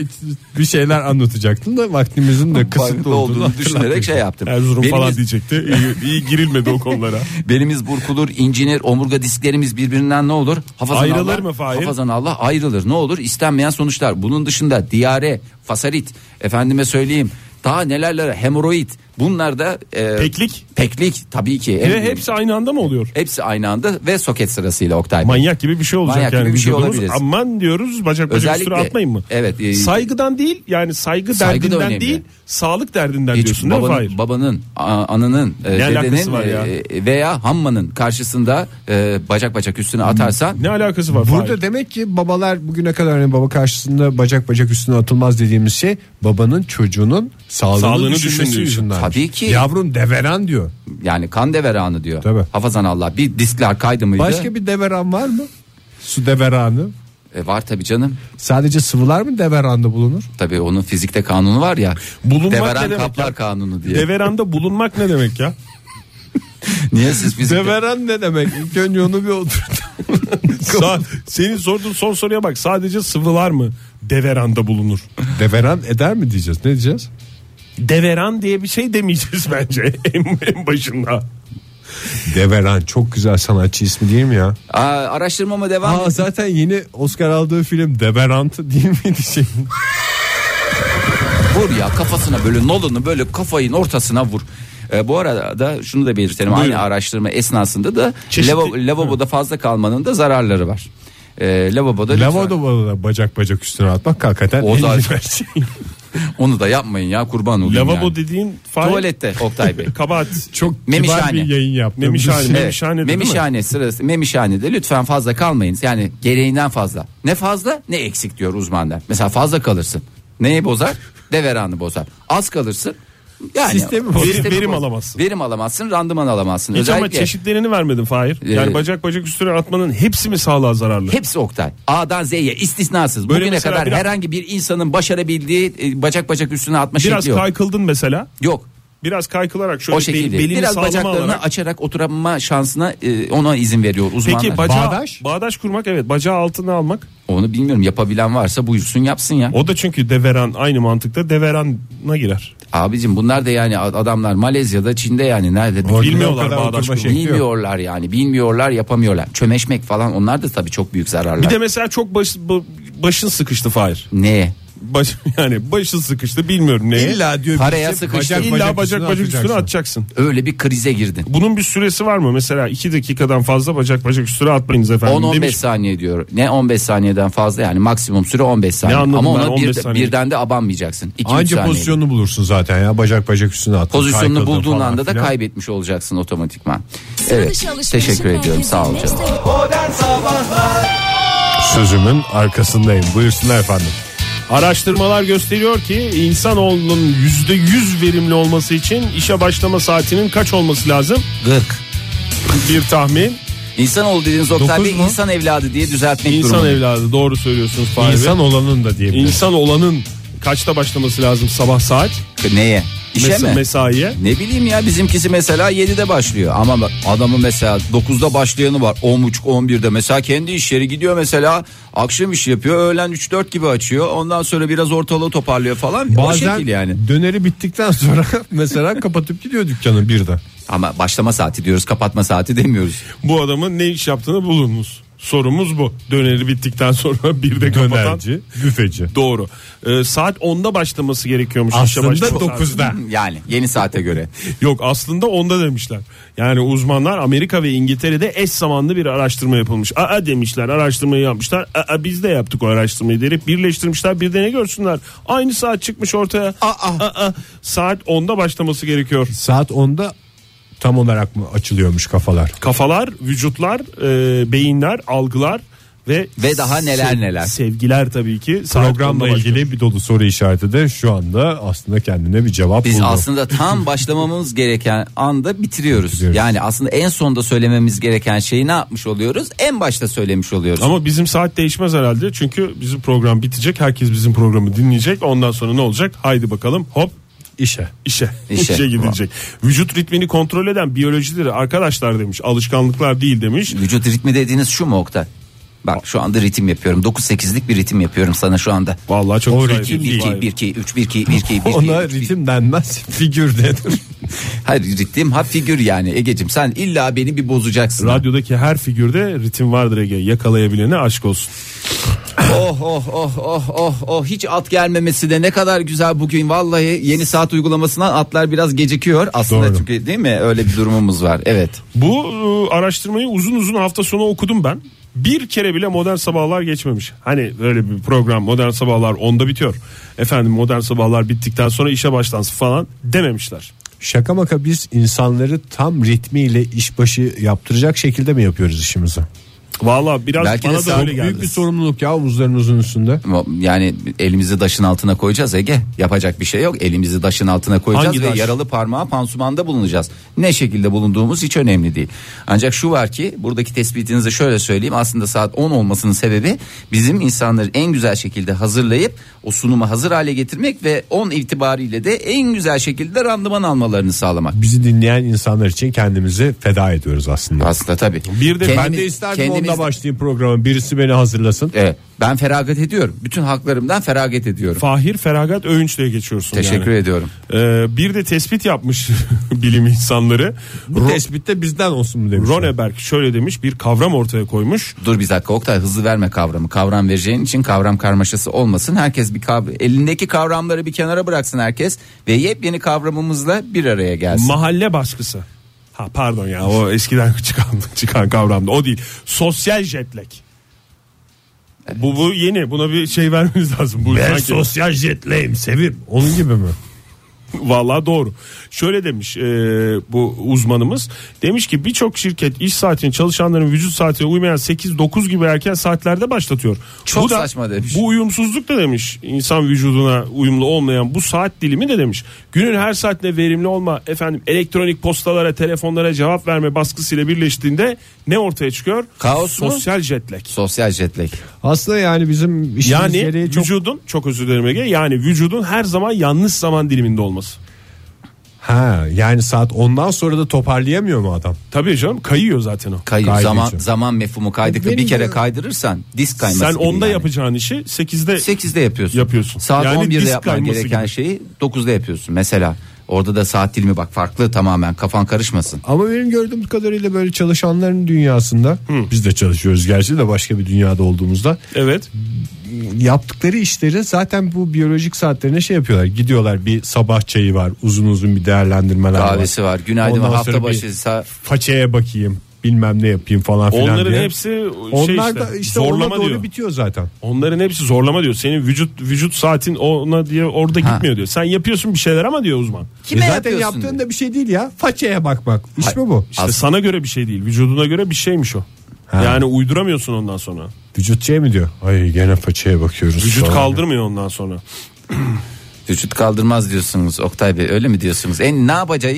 bir şeyler anlatacaktım da vaktimizin de kısıtlı olduğunu düşünerek şey yaptım Erzurum falan Belimiz- diyecekti. İyi, iyi girilmedi o konulara. Belimiz burkulur, incinir, omurga disklerimiz birbirinden ne olur? Hafazan Ayrılır Allah, mı Fahir? Hafazan Allah ayrılır. Ne olur? İstenmeyen sonuçlar. Bunun dışında diyare, fasarit, efendime söyleyeyim daha nelerlere hemoroid Bunlar da e, Peklik? Peklik tabii ki. En Ve önemli. hepsi aynı anda mı oluyor? hepsi aynı anda ve soket sırasıyla Oktay. Bey. Manyak gibi bir şey olacak Manyak yani. gibi bir şey Vücudumuz olabiliriz. Aman diyoruz bacak bacak Özellikle- üstüne atmayın mı? Evet, e- Saygıdan değil yani saygı, Saygı da derdinden önemli. değil sağlık derdinden Hiç diyorsun değil mi babanın, Fahir? babanın, a- anının, e, alakası dedenin var ya? e, veya hammanın karşısında e, bacak bacak üstüne atarsan Ne alakası var Burada Fahir? demek ki babalar bugüne kadar hani baba karşısında bacak bacak üstüne atılmaz dediğimiz şey babanın çocuğunun sağlığını, Sağlığını düşündüğü düşünmesi için. yüzünden. Tabii ki. Yavrum deveran diyor. yani kan deveranı diyor. Tabii. Hafazan Allah bir diskler kaydı mıydı? Başka bir deveran var mı? Su deveranı. E, var tabii canım. Sadece sıvılar mı deveranda bulunur? Tabii onun fizikte kanunu var ya. Bulunmak ne deveran demek kaplar ya? kanunu diye. Deveranda bulunmak ne demek ya? Niye siz fizikte? Deveran ne demek? İlk önce onu bir oturtalım. Sa- senin sorduğun son soruya bak sadece sıvılar mı deveranda bulunur? deveran eder mi diyeceğiz? Ne diyeceğiz? Deveran diye bir şey demeyeceğiz bence en, en başında. Deveran çok güzel sanatçı ismi değil mi ya? Aa, araştırmama devam. Aa, zaten yeni Oscar aldığı film Deverant'ı değil miydi şey? Vur ya kafasına böyle Nolan'ı böyle kafayın ortasına vur. E, bu arada şunu da belirtelim aynı araştırma esnasında da Çeşitli- lava- lavaboda fazla kalmanın da zararları var. E, lavaboda lütfen- Lavaboda bacak bacak üstüne atmak hakikaten O en da- güzel şey. onu da yapmayın ya kurban olayım Lavabo yani. dediğin Fahir- Tuvalette Oktay Bey. Kabahat. Çok kibar Memişhane. bir yayın yaptım. Memişhane. Evet, Memişhanede değil mi? memişhane sırası memişhanede lütfen fazla kalmayınız. Yani gereğinden fazla. Ne fazla ne eksik diyor uzmanlar. Mesela fazla kalırsın. Neyi bozar? Deveranı bozar. Az kalırsın. Yani Sistemi bozar. Verim- verim bozar. alamazsın. Verim alamazsın, randıman alamazsın. Hiç ama Özellikle çeşitlerini vermedin Fahir. Yani Ee, bacak bacak üstüne atmanın hepsi mi sağlığa zararlı? hepsi Oktay. A'dan Z'ye istisnasız. Böyle Bugüne mesela kadar biraz- herhangi bir insanın başarabildiği e, bacak bacak üstüne atma Biraz şekli şey yok. kaykıldın mesela. Yok. Biraz kaykılarak şöyle O bel- şekilde. belini Biraz sağlama bacaklarını alarak. açarak oturma şansına e, ona izin veriyor uzmanlar. Peki bacağı, Bağdaş? bağdaş? kurmak evet bacağı altına almak. Onu bilmiyorum yapabilen varsa buyursun yapsın ya. O da çünkü deveran aynı mantıkta deverana girer. Abicim bunlar da yani ad- adamlar Malezya'da Çin'de yani nerede Orada Bilmiyorlar o kadar bağdaş oturma kurmayı. şekli yok. bilmiyorlar yani bilmiyorlar yapamıyorlar. Çömeşmek falan onlar da tabii çok büyük zararlar. Bir de mesela çok baş- ba- başın sıkıştı Fahir. ne? Baş, yani başın sıkıştı bilmiyorum neye. İlla diyor Paraya birisi sıkıştı. İlla bacak bacak üstüne, atacaksın. Öyle bir krize girdin. Bunun bir süresi var mı? Mesela 2 dakikadan fazla bacak bacak üstüne atmayınız efendim 10-15 demiş. saniye diyor. Ne 15 saniyeden fazla yani maksimum süre 15 saniye. anladım Ama ben ona 15 bir, saniye? birden de abanmayacaksın. 2 Anca saniye. pozisyonunu bulursun zaten ya bacak bacak üstüne at. Pozisyonunu Kaykıldın bulduğun falan anda da filan. kaybetmiş olacaksın otomatikman. Sıra Evet. dışı alışverişin Teşekkür ediyorum. merkezi Sağ ol canım. Nextel. Modern Sabahlar Sözümün arkasındayım. Buyursunlar efendim. Araştırmalar gösteriyor ki insanoğlunun %100 verimli olması için işe başlama saatinin kaç olması lazım? 40. Bir tahmin. İnsanoğlu dediğiniz Oktay Dokuz Bey mu? insan evladı diye düzeltmek İnsan durumunda. evladı doğru söylüyorsunuz Fahri Bey. İnsan olanın da diyebilirim. İnsan olanın kaçta başlaması lazım sabah saat? Neye? İşe Mes- mi? Mesaiye. Ne bileyim ya bizimkisi mesela 7'de başlıyor ama bak adamın mesela 9'da başlayanı var 10.30 11'de mesela kendi iş yeri gidiyor mesela akşam işi yapıyor öğlen 3-4 gibi açıyor ondan sonra biraz ortalığı toparlıyor falan o Bazen şekil yani döneri bittikten sonra mesela kapatıp gidiyor dükkanı bir de. ama başlama saati diyoruz kapatma saati demiyoruz Bu adamın ne iş yaptığını bulunuz. Sorumuz bu. Döneri bittikten sonra bir de kapatan. Dönerci, büfeci. Doğru. Ee, saat 10'da başlaması gerekiyormuş. işe Aslında başlama saati. 9'da. yani yeni saate göre Yok aslında onda demişler. Yani uzmanlar Amerika ve İngiltere'de eş zamanlı bir araştırma yapılmış. Aa demişler araştırmayı yapmışlar. Aa biz de yaptık o araştırmayı derip birleştirmişler. Bir de ne görsünler? Aynı saat çıkmış ortaya. Aa, saat 10'da başlaması gerekiyor. Saat 10'da tam olarak mı açılıyormuş kafalar? Kafalar, vücutlar, e, beyinler, algılar ve Ve daha neler neler. Sevgiler tabii ki. Saat 10'da Programla başlıyor. ilgili bir dolu soru işareti de şu anda aslında kendine bir cevap biz buldu. aslında tam başlamamız gereken anda bitiriyoruz. Bitiriyoruz. yani aslında en sonda söylememiz gereken şeyi ne yapmış oluyoruz en başta söylemiş oluyoruz Ama bizim saat değişmez herhalde. Çünkü bizim program bitecek. Herkes bizim programı dinleyecek. Ondan sonra ne olacak? Haydi bakalım. Hop işe. İşe. İşe. İşe, gidilecek. Vücut ritmini kontrol eden biyolojidir arkadaşlar demiş. Alışkanlıklar değil demiş. Vücut ritmi dediğiniz şu mu Oktay? Bak şu anda ritim yapıyorum. 9-8'lik bir ritim yapıyorum sana şu anda. Vallahi çok O güzel. ritim 1-2-1-2-3-1-2-1-2-1-2. Ona ritim denmez figür denir. Hayır ritim ha figür yani Ege'cim sen illa beni bir bozacaksın. Radyodaki her figürde ritim vardır Ege. Yakalayabilene aşk olsun. Oh oh oh oh oh oh hiç at gelmemesi de ne kadar güzel bugün vallahi yeni saat uygulamasından atlar biraz gecikiyor aslında Doğru. çünkü değil mi öyle bir durumumuz var evet Bu e, araştırmayı uzun uzun hafta sonu okudum ben. Bir kere bile modern sabahlar geçmemiş. Hani böyle bir program modern sabahlar onda bitiyor. Efendim modern sabahlar bittikten sonra işe başlansın falan dememişler. Şaka maka biz insanları tam ritmiyle işbaşı yaptıracak şekilde mi yapıyoruz işimizi? Valla biraz Belki de bana da sen- öyle Çok geldi. Büyük bir sorumluluk ya omuzlarımızın üstünde. yani elimizi daşın altına koyacağız Ege yapacak bir şey yok elimizi daşın altına koyacağız Hangi ve daş? yaralı parmağa pansumanda bulunacağız ne şekilde bulunduğumuz hiç önemli değil ancak şu var ki buradaki tespitinizi şöyle söyleyeyim aslında saat 10 olmasının sebebi bizim insanları en güzel şekilde hazırlayıp o sunumu hazır hale getirmek ve 10 itibariyle de en güzel şekilde randıman almalarını sağlamak Bizi dinleyen insanlar için kendimizi feda ediyoruz aslında. aslında tabii Bir de Kendimiz- Ben de isterdim kendimiz- onda başlayayım programı. Birisi beni hazırlasın. Evet, ben feragat ediyorum bütün haklarımdan feragat ediyorum Fahir Feragat Öğünç diye geçiyorsun teşekkür yani. ediyorum Ee, bir de tespit yapmış bilim insanları. Bu Ro- tespitte bizden olsun mu demiş. Ronneberg şöyle demiş bir kavram ortaya koymuş. Dur bir dakika Oktay hızlı verme kavramı. Kavram vereceğin için kavram karmaşası olmasın. Herkes bir kav elindeki kavramları bir kenara bıraksın herkes ve yepyeni kavramımızla bir araya gelsin. Mahalle baskısı. Ha pardon ya o eskiden çıkan çıkan kavramdı. O değil. Sosyal jetlek. Bu bu yeni. Buna bir şey vermeniz lazım. Bu sanki- sosyal jetleyim sevim. Onun gibi mi? Vallahi doğru. Şöyle demiş e, bu uzmanımız. Demiş ki birçok şirket iş saatini çalışanların vücut saatine uymayan 8-9 gibi erken saatlerde başlatıyor. Çok bu da, saçma demiş. Bu uyumsuzluk da demiş. İnsan vücuduna uyumlu olmayan bu saat dilimi de demiş. Günün her saatine verimli olma efendim elektronik postalara telefonlara cevap verme baskısıyla birleştiğinde ne ortaya çıkıyor? Kaos mu? Sosyal jetlek. Sosyal jetlek. Aslında yani bizim işimiz Yani gereği çok... vücudun çok özür dilerim Ege yani vücudun her zaman yanlış zaman diliminde olması. Ha, yani saat ondan sonra da toparlayamıyor mu adam? Tabii canım kayıyor zaten o. Kayıyor. Kaydedici. Zaman zaman mefhumu kaydıkta Benim bir kere de- kaydırırsan disk kayması. Sen gibi onda yani. yapacağın işi 8'de 8'de yapıyorsun. Yapıyorsun. Saat Yani 11'de disk yapman kayması gereken gibi. şeyi 9'da yapıyorsun mesela. Orada da saat dilimi bak farklı tamamen kafan karışmasın. Ama benim gördüğüm kadarıyla böyle çalışanların dünyasında biz de çalışıyoruz gerçi de başka bir dünyada olduğumuzda evet yaptıkları işleri zaten bu biyolojik saatlerine şey yapıyorlar. Gidiyorlar bir sabah çayı var uzun uzun bir değerlendirmeler Kahvesi var. Günaydın Ondan ve hafta sonra bir başı sa- façaya bakayım bilmem ne yapayım falan filan onların diye. hepsi şey Onlar işte, da işte zorlama ona doğru diyor. bitiyor zaten. Onların hepsi zorlama diyor. Senin vücut vücut saatin ona diye orada Ha. gitmiyor diyor. Sen yapıyorsun bir şeyler ama diyor uzman. Kime E zaten yapıyorsun yaptığın diyor. da bir şey değil ya. Façaya bakmak. İş mi bu? İşte As- sana göre bir şey değil. Vücuduna göre bir şeymiş o. Yani uyduramıyorsun ondan sonra. Vücut şey mi diyor? Ay gene façaya bakıyoruz. Vücut falan. kaldırmıyor ondan sonra. Vücut kaldırmaz diyorsunuz Oktay Bey öyle mi diyorsunuz? En ne yapacağız?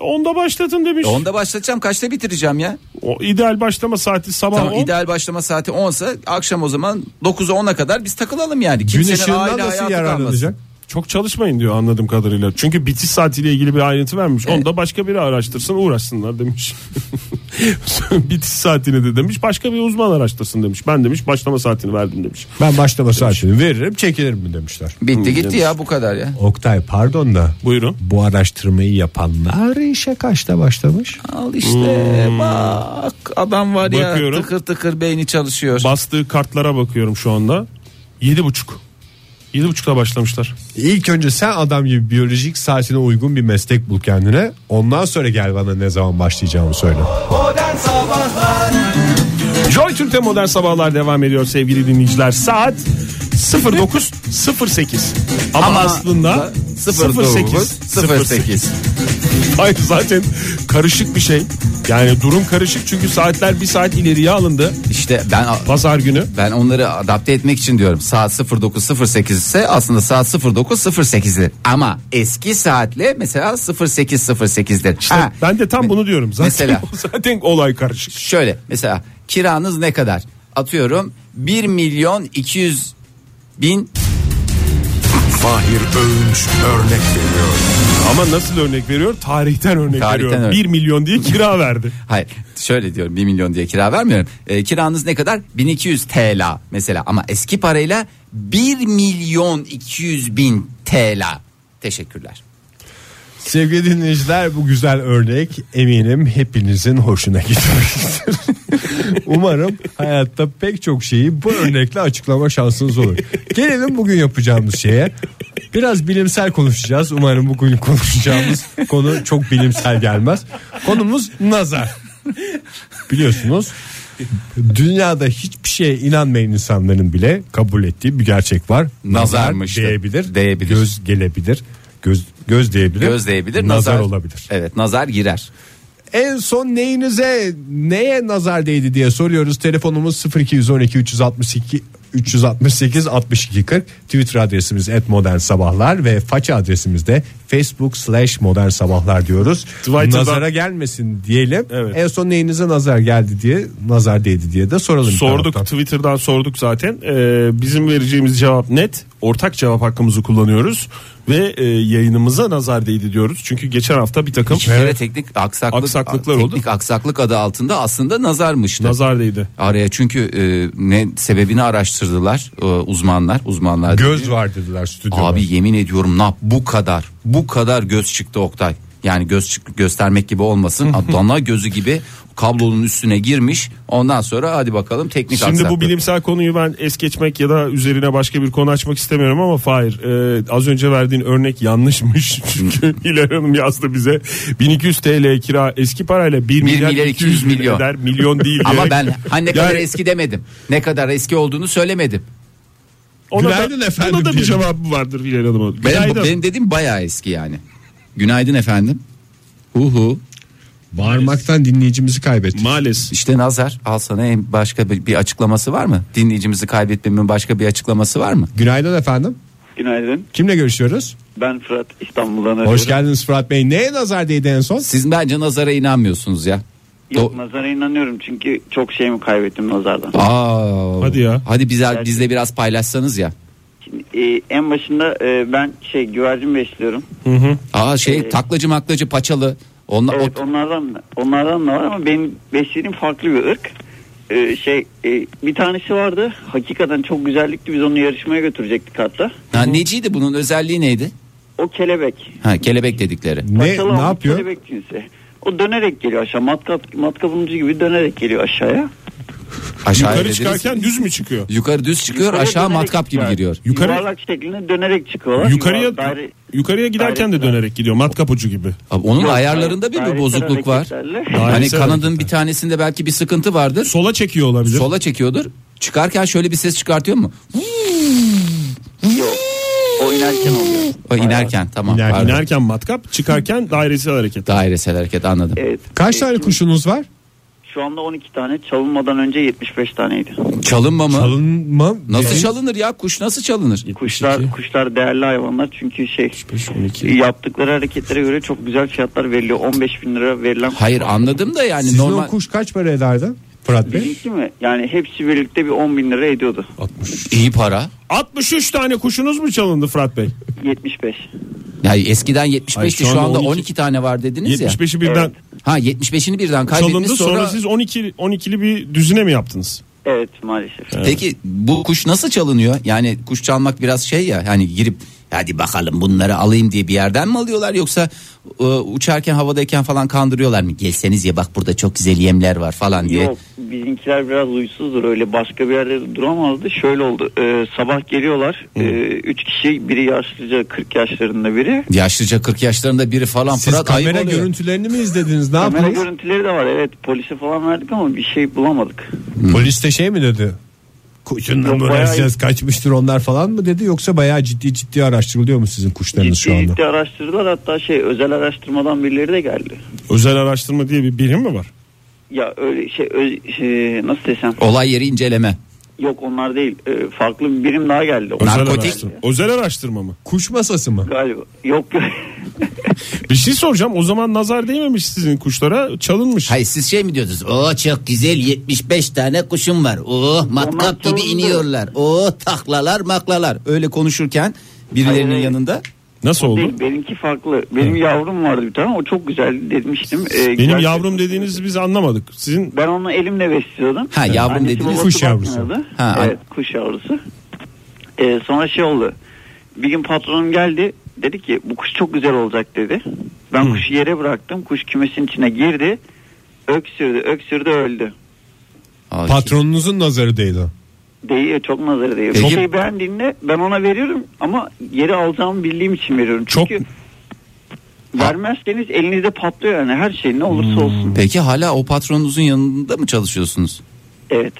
Onda başlatın demiş. E Onda başlatacağım kaçta bitireceğim ya? O ideal başlama saati sabah Tamam, 10. ideal başlama saati 10 ise akşam o zaman 9'a 10'a kadar biz takılalım yani. Gün Kimsenin ışığından aile nasıl hayatı yararlanacak? kalmasın. Çok çalışmayın diyor anladığım kadarıyla. Çünkü bitiş saatiyle ilgili bir ayrıntı vermiş. Onu da başka biri araştırsın uğraşsınlar demiş. bitiş saatini de demiş. Başka bir uzman araştırsın demiş. Ben demiş başlama saatini verdim demiş. Ben başlama saatini veririm çekilirim mi demişler. Bitti gitti ya bu kadar ya. Oktay pardon da Buyurun. bu araştırmayı yapanlar işe kaçta başlamış? Al işte Hmm. bak adam var Bakıyorum. ya tıkır tıkır beyni çalışıyor. Bastığı kartlara bakıyorum şu anda. Yedi buçuk. Yedi buçukta başlamışlar. İlk önce sen adam gibi biyolojik saatine uygun bir meslek bul kendine. Ondan sonra gel bana ne zaman başlayacağımı söyle. Modern Sabahlar Joy Türk'te modern sabahlar devam ediyor sevgili dinleyiciler. Saat 09.08. Ama, Ama aslında 08. 08. Hayır zaten karışık bir şey. Yani durum karışık çünkü saatler bir saat ileriye alındı. İşte ben Pazar günü. ben onları adapte etmek için diyorum. Saat 09.08 ise aslında saat 09.08'dir. Ama eski saatle mesela 08.08'dir. ha, Ben de tam bunu diyorum. Zaten, Mesela. zaten olay karışık. şöyle mesela kiranız ne kadar? Atıyorum 1 milyon 200 bin Fahir Öğünç örnek veriyor. Ama nasıl örnek veriyor? Tarihten örnek Tarihten veriyor. örnek. 1 milyon diye kira verdi. hayır şöyle diyorum 1 milyon diye kira vermiyorum. Ee, kiranız ne kadar? 1200 TL mesela ama eski parayla 1 milyon 200 bin TL. Teşekkürler. Sevgili dinleyiciler bu güzel örnek eminim hepinizin hoşuna gitmiştir. Umarım hayatta pek çok şeyi bu örnekle açıklama şansınız olur. Gelelim bugün yapacağımız şeye. Biraz bilimsel konuşacağız. Umarım bugün konuşacağımız konu çok bilimsel gelmez. Konumuz nazar. Biliyorsunuz dünyada hiçbir şeye inanmayan insanların bile kabul ettiği bir gerçek var. Nazarmış da. değebilir, Değebilir. göz gelebilir, göz göz değebilir, Gözleyebilir. nazar, olabilir. Evet nazar girer. En son neyinize neye nazar değdi diye soruyoruz. Telefonumuz 0212 362 368 62 40 Twitter adresimiz et modern sabahlar ve faça adresimiz de facebook slash modern sabahlar diyoruz. Twitter'dan- Nazara gelmesin diyelim. Evet. En son neyinize nazar geldi diye nazar değdi diye de soralım. bir Sorduk taraftan. Twitter'dan sorduk zaten. Ee, bizim vereceğimiz cevap net. Ortak cevap hakkımızı kullanıyoruz ve e, yayınımıza nazar değdi diyoruz. Çünkü geçen hafta bir takım Bir kere teknik aksaklık, Aksaklıklar oldu. teknik aksaklık adı altında aslında nazarmıştı. nazar değdi. Araya çünkü e, ne sebebini araştırdılar e, uzmanlar. Uzmanlar Göz var dediler stüdyoda. Abi yemin ediyorum nap bu kadar bu kadar göz çıktı Oktay. Yani göz çık- göstermek gibi olmasın. Ha, Dana gözü gibi kablonun üstüne girmiş. Ondan sonra hadi bakalım teknik Şimdi bu aksaklık. bilimsel konuyu ben es geçmek ya da üzerine başka bir konu açmak istemiyorum ama Fahir e, az önce verdiğin örnek yanlışmış. Çünkü Hmm. Hilal Hanım yazdı bize 1200 TL kira eski parayla 1 milyar, 200, milyon eder. Milyon değil. Ama diyerek- ben ha, ne kadar Yani- eski demedim. Ne kadar eski olduğunu söylemedim. Ona Günaydın da, efendim Buna da bir diyelim. cevabı vardır Hilal Hanım'ın. Benim, Günaydın. benim dediğim bayağı eski yani. Günaydın efendim. Uhu. Bağırmaktan dinleyicimizi kaybettik. Maalesef. İşte nazar al sana en başka bir, bir açıklaması var mı? Dinleyicimizi kaybetmemin başka bir açıklaması var mı? Günaydın efendim. Günaydın. Kimle görüşüyoruz? Ben Fırat İstanbul'dan arıyorum. Hoş geldiniz Fırat Bey. Neye nazar değdi en son? Siz bence nazara inanmıyorsunuz ya. Yok Do- nazara inanıyorum çünkü çok şeyimi kaybettim nazardan. Aa, Hadi ya. Hadi bize bizle biraz paylaşsanız ya. Şimdi, e, en başında e, ben şey güvercin besliyorum. Aa şey Ee, taklacı maklacı paçalı. Onla, o- Evet onlardan da- onlardan da var ama benim beslediğim farklı bir ırk. E, şey e, bir tanesi vardı. Hakikaten çok güzellikti. Biz onu yarışmaya götürecektik hatta. Ha, neciydi bunun özelliği neydi? O kelebek. Ha, kelebek dedikleri. Ne Parçalı ne olmuş yapıyor? Kelebek cinsi. O dönerek geliyor aşağı. Matkap, matkapımcı gibi dönerek geliyor aşağıya. Aşağı Yukarı dediniz. çıkarken düz mü çıkıyor? yukarı düz çıkıyor Yukarıya aşağı dönerek matkap gibi çıkıyor. giriyor. Yukarı- Yuvarlak şeklinde dönerek çıkıyorlar. Yukarıya Yuvar- daire- yukarıya giderken de daire- dönerek gidiyor matkap ucu gibi. Abi, onun Yok, ayarlarında bir, bir dairesel bozukluk var. hareketlerle- Hani Dairesel kanadın hareketler. bir tanesinde belki bir sıkıntı vardır. Sola çekiyor olabilir. Sola çekiyordur. Çıkarken şöyle bir ses çıkartıyor mu? Yok. Oynarken oluyor. O inerken tamam. İner- pardon. İnerken matkap, çıkarken dairesel hareket. Dairesel hareket anladım. Evet. Kaç Ee, tane şimdi kuşunuz var? Şu anda 12 tane çalınmadan önce 75 taneydi. Çalınma mı? Alınma. Nasıl Ne? çalınır ya? Kuş nasıl çalınır? Kuşlar kuşlar değerli hayvanlar çünkü şey 12. yaptıkları hareketlere göre çok güzel fiyatlar veriliyor. 15 bin lira verilen Hayır anladım da yani Sizin normal o kuş kaç para ederdi Fırat Bey? Bizimki mi? Yani hepsi birlikte bir 10 bin lira ediyordu. iyi para. 63 tane kuşunuz mu çalındı Fırat Bey? 75. Yani eskiden 75'ti Hayır, şu, anda 12, tane var dediniz ya. 75'i birden Ha 75'ini birden çalındı kaybettiniz sonra... sonra. siz 12 12'li bir düzine mi yaptınız? Evet maalesef. Peki bu kuş nasıl çalınıyor? Yani kuş çalmak biraz şey ya hani girip hadi bakalım bunları alayım diye bir yerden mi alıyorlar yoksa e, uçarken havadayken falan kandırıyorlar mı? Gelseniz ya bak burada çok güzel yemler var falan diye. Yok bizimkiler biraz uysuzdur öyle başka bir yerde duramazdı. Şöyle oldu Ee, sabah geliyorlar 3 kişi biri yaşlıca 40 yaşlarında biri. Yaşlıca 40 yaşlarında biri falan Siz Fırat ayıp kamera oluyor. görüntülerini mi izlediniz? Ne Kamera yaptınız? görüntüleri de var evet polise falan verdik ama bir şey bulamadık. Polis de şey mi dedi? Kuşunla mı Yok, bayağı- uğraşacağız kaçmıştır onlar falan mı dedi yoksa bayağı ciddi ciddi araştırılıyor mu sizin kuşlarınız şu Ciddi anda? ciddi araştırdılar hatta şey özel araştırmadan birileri de geldi. Özel araştırma diye bir birim mi var? Ya öyle şey, ö- şey, nasıl desem Olay yeri inceleme. yok onlar değil Ee, farklı bir birim daha geldi. Özel Narkotik. araştırma. Özel araştırma mı? Kuş masası mı? Galiba yok yok. Bir şey soracağım. O zaman nazar değmemiş sizin kuşlara, çalınmış. Hayır siz şey mi diyordunuz? Oo çok güzel 75 tane kuşum var. Oo matkap gibi çalındı. iniyorlar. Oo taklalar maklalar. Öyle konuşurken birilerinin Hayır. yanında. Nasıl oldu? Değil, benimki farklı. Benim yavrum vardı bir tane o çok güzel demiştim. Ee, Benim güzel- yavrum dediğinizi biz anlamadık. Sizin Ben onu elimle besliyordum. Ha, yavrum Annesi dediğiniz babası kuş yavrusu. bakmıyordu. Ha, evet kuş yavrusu. Ee, sonra şey oldu. Bir gün patronum geldi. Dedi ki bu kuş çok güzel olacak dedi. Ben kuşu yere bıraktım. Kuş kümesin içine girdi. Öksürdü öksürdü öldü. Ay, Patronunuzun nazarı değil o. Değiyor çok nazarı değiyor. Peki- Bir şey beğendiğinde ben ona veriyorum ama geri alacağımı bildiğim için veriyorum. Çok- Çünkü vermezseniz elinizde patlıyor yani her şey ne Hmm. olursa olsun. Peki hala o patronunuzun yanında mı çalışıyorsunuz? Evet.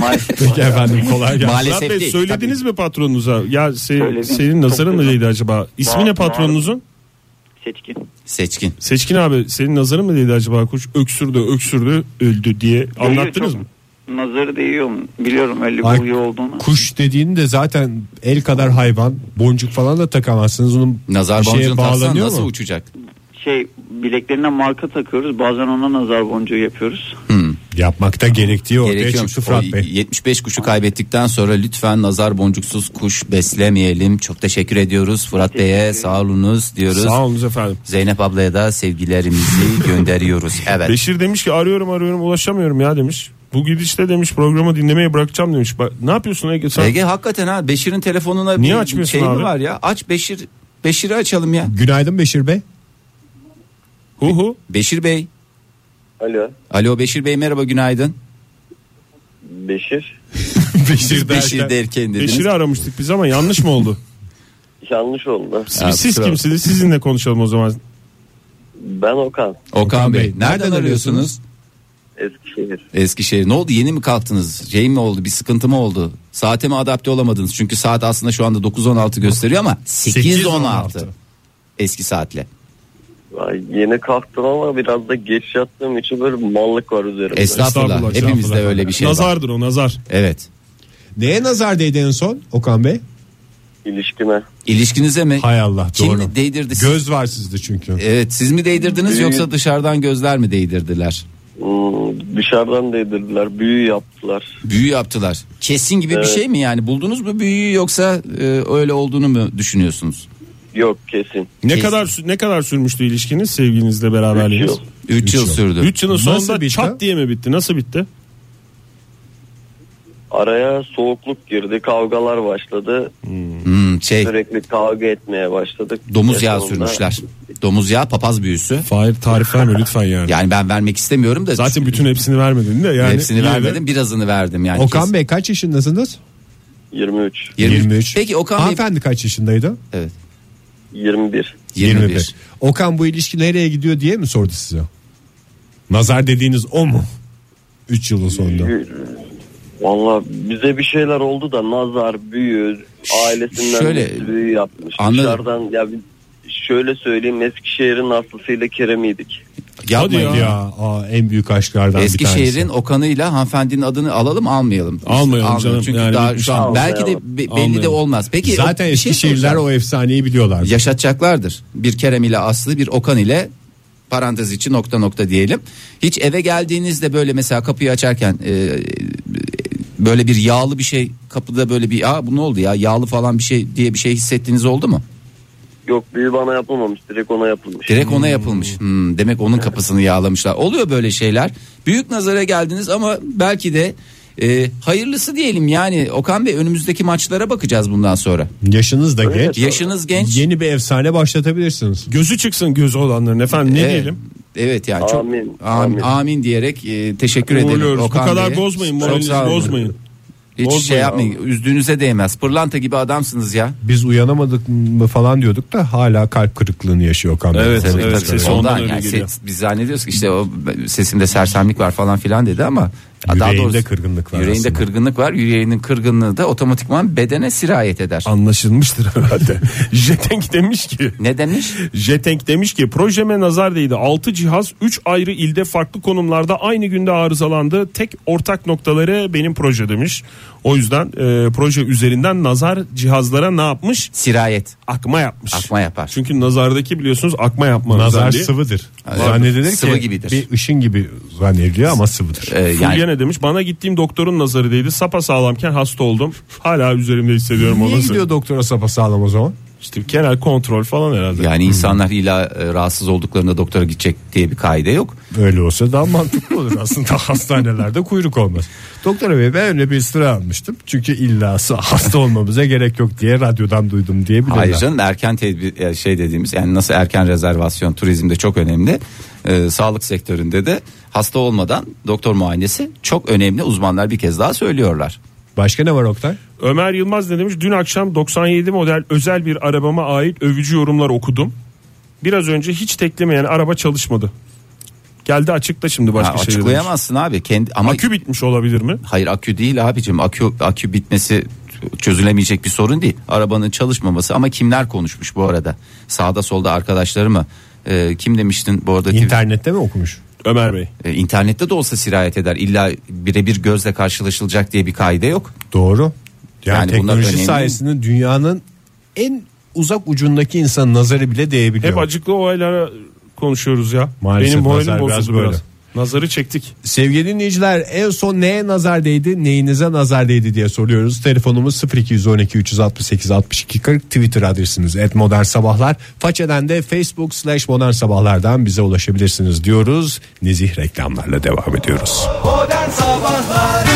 Maalesef. Peki efendim kolay gelsin. Maalesef Murat Bey, değil, söylediniz mi patronunuza? Ya se- Söyledim. senin nazarın Çok mı güzel. değdi acaba? İsmi Var- ne patronunuzun? Seçkin. Seçkin. Seçkin abi senin nazarın mı değdi acaba kuş? Öksürdü öksürdü öldü diye Değiyor, anlattınız çok mı? Nazarı değiyor mu? Biliyorum öyle bir Ay- huyu olduğunu. Kuş dediğin de zaten el kadar hayvan. Boncuk falan da takamazsınız. Onun Nazar bir şeye boncuğunu taksan bağlanıyor nasıl mu? uçacak? Şey bileklerine marka takıyoruz bazen ona nazar boncuğu yapıyoruz. Yapmakta gerektiği ortaya Gerekiyormuş. çıktı O Fırat Bey. 75 kuşu kaybettikten sonra lütfen nazar boncuksuz kuş beslemeyelim. Çok teşekkür ediyoruz Fırat Bey'e sağ olunuz diyoruz. Sağ olunuz efendim. Zeynep ablaya da sevgilerimizi gönderiyoruz. Evet. Beşir demiş ki arıyorum arıyorum ulaşamıyorum ya demiş. Bu gidişte demiş programı dinlemeye bırakacağım demiş. Bak, ne yapıyorsun Ege sen? Ege hakikaten ha Beşir'in telefonuna Niye bir açmıyorsun şey mi abi? var ya? Aç Beşir. Beşir'i açalım ya. Günaydın Beşir Bey. Hu hu. Beşir Bey. Alo Alo Beşir Bey merhaba günaydın. Beşir. Beşir Beşir derken dediniz. Beşir'i aramıştık biz ama yanlış mı oldu? Yanlış oldu. Siz, Ya, siz kusura kimsiniz? Sizinle konuşalım o zaman. Ben Okan. Okan Bey. Bey, Nereden, nereden arıyorsunuz? arıyorsunuz? Eskişehir. Eskişehir. Ne oldu? Yeni mi kalktınız? Şey mi oldu? Bir sıkıntı mı oldu? Saate mi adapte olamadınız? Çünkü saat aslında şu anda 9.16 gösteriyor ama 8.16. Eski saatle. Ay, Yeni kalktım ama biraz da geç yattığım için böyle mallık var üzerimde. Estağfurullah. Hepimizde estağfurullah. öyle bir şey var. Nazardır o nazar. Evet. Neye nazar değdi en son Okan Bey? İlişkime. İlişkinize mi? Hay Allah Kim doğru. değdirdi? E, siz- Göz var sizde çünkü. Evet siz mi değdirdiniz yoksa dışarıdan gözler mi değdirdiler? Hmm, dışarıdan değdirdiler. Büyü yaptılar. Büyü yaptılar. Kesin gibi Evet. bir şey mi yani? Buldunuz mu büyüyü yoksa e, öyle olduğunu mu düşünüyorsunuz? Yok kesin. Ne Kesin. kadar sü- ne kadar sürmüştü ilişkiniz sevgilinizle Üç beraberliğiniz? yıl. 3 yıl yıl. sürdü. 3 yılın Nasıl sonunda bitti? çat diye mi bitti? Nasıl bitti? Araya soğukluk girdi. Kavgalar başladı. Hmm, şey Sürekli kavga etmeye başladık. domuz En yağı sonunda- sürmüşler. Domuz yağı papaz büyüsü. Hayır tarif verme lütfen yani. Yani ben vermek istemiyorum da Zaten bütün hepsini vermedin de yani. hepsini yine de- vermedim birazını verdim yani. Okan Kesin. Bey kaç yaşındasınız? 23. Yirmi- 23. Peki Okan Bey Hanımefendi kaç yaşındaydı? evet, 21. 21. Okan bu ilişki nereye gidiyor diye mi sordu size? Nazar dediğiniz o mu? 3 yılın sonunda. Valla bize bir şeyler oldu da nazar büyü ailesinden şöyle- birisi büyü yapmış. Anladım. Dışarıdan ya biz- şöyle söyleyeyim Eskişehir'in aslısıyla Kerem'iydik. Yapmayın. Hadi Ya aa, en büyük aşklardan bir tanesi. Eskişehir'in Okan'ıyla hanımefendinin adını alalım almayalım. Almayalım canım, Çünkü yani daha bitmiş. şu an belki de Almayalım. be- belli de Almayalım. olmaz. Peki o- Zaten bir şey Eskişehirliler soracağım. o efsaneyi biliyorlar. yaşatacaklardır. Bir Kerem ile Aslı bir Okan ile parantez içi nokta nokta diyelim. Hiç eve geldiğinizde böyle mesela kapıyı açarken e, e, böyle bir yağlı bir şey kapıda böyle bir aa bu ne oldu ya yağlı falan bir şey diye bir şey hissettiğiniz oldu mu? Yok büyü bana yapılmamış direkt ona yapılmış. Direkt ona yapılmış. Hmm, demek onun kapısını yağlamışlar. Oluyor böyle şeyler. Büyük nazara geldiniz ama belki de e, hayırlısı diyelim yani Okan Bey önümüzdeki maçlara bakacağız bundan sonra. Yaşınız da genç. Yaşınız genç. Yeni bir efsane başlatabilirsiniz. Gözü çıksın gözü olanların efendim ne Evet. diyelim? Evet yani çok amin Amin, amin, amin. diyerek e, teşekkür ederim. Uğurluyoruz. Bu Okan kadar Bey'e. bozmayın Çok moralinizi sağ olun. bozmayın. Hiç Bozmayın şey yapmayın. Üzdüğünüze değmez. Pırlanta gibi adamsınız ya. Biz uyanamadık mı falan diyorduk da hala kalp kırıklığını yaşıyor Okan Bey. Evet, Tabii, tabii. sesi ondan öyle yani geliyor. ses- biz zannediyoruz ki işte o sesimde sersemlik var falan filan dedi ama ya Yüreğinde kırgınlık var Yüreğinde aslında. kırgınlık var. Yüreğinin kırgınlığı da otomatikman bedene sirayet eder. Anlaşılmıştır herhalde. Jetenk demiş ki ne demiş? Jetenk demiş ki projeme nazar değdi. 6 cihaz 3 ayrı ilde farklı konumlarda aynı günde arızalandı. Tek ortak noktaları benim proje demiş. O yüzden e, proje üzerinden nazar cihazlara ne yapmış? Sirayet. Akma yapmış. Akma yapar. Çünkü nazardaki biliyorsunuz akma yapma Nazar özelliği. sıvıdır. Evet. Zannedilir ki Sıvı gibidir. bir ışın gibi zannediliyor ama sıvıdır. Ee, yani Fulya ne demiş? Bana gittiğim doktorun nazarı değdi. Sapa sağlamken hasta oldum. Hala üzerimde hissediyorum o Niye nazarı. gidiyor doktora sapasağlam o zaman? İşte genel kontrol falan herhalde. yani insanlar illa e, rahatsız olduklarında doktora gidecek diye bir kaide yok. Öyle olsa daha mantıklı olur aslında hastanelerde kuyruk olmaz. Doktor bey ben öyle bir sıra almıştım. Çünkü illa hasta olmamıza gerek yok diye radyodan duydum diye bilirler. Hayır canım erken tedbir e, şey dediğimiz yani nasıl erken rezervasyon turizmde çok önemli. e, sağlık sektöründe de hasta olmadan doktor muayenesi çok önemli uzmanlar bir kez daha söylüyorlar. Başka ne var Oktay? Ömer Yılmaz ne demiş? Dün akşam 97 model özel bir arabama ait övücü yorumlar okudum. Biraz önce hiç teklemeyen araba çalışmadı. Geldi açıkta şimdi Ha, başka şey. demiş. açıklayamazsın abi kendi ama Akü bitmiş olabilir mi? hayır akü değil abicim akü akü bitmesi çözülemeyecek bir sorun değil. Arabanın çalışmaması ama kimler konuşmuş bu arada? Sağda solda arkadaşları mı? E, kim demiştin bu arada? İnternette mi okumuş? Ömer Bey. E, internette de olsa sirayet eder. İlla birebir gözle karşılaşılacak diye bir kaide yok. Doğru. Yani, Yani bunlar teknoloji önemli. sayesinde dünyanın en uzak ucundaki insanın nazarı bile değebiliyor. Hep acıklı olaylara konuşuyoruz ya. Maalesef Benim nazar moralim biraz bozuldu böyle. biraz. Nazarı çektik. Sevgili dinleyiciler en son neye nazar değdi neyinize nazar değdi diye soruyoruz. Telefonumuz 0212 368 62 40 Twitter adresimiz et modern sabahlar. Façeden de facebook slash modern sabahlardan bize ulaşabilirsiniz diyoruz. Nezih reklamlarla devam ediyoruz. Modern Sabahlar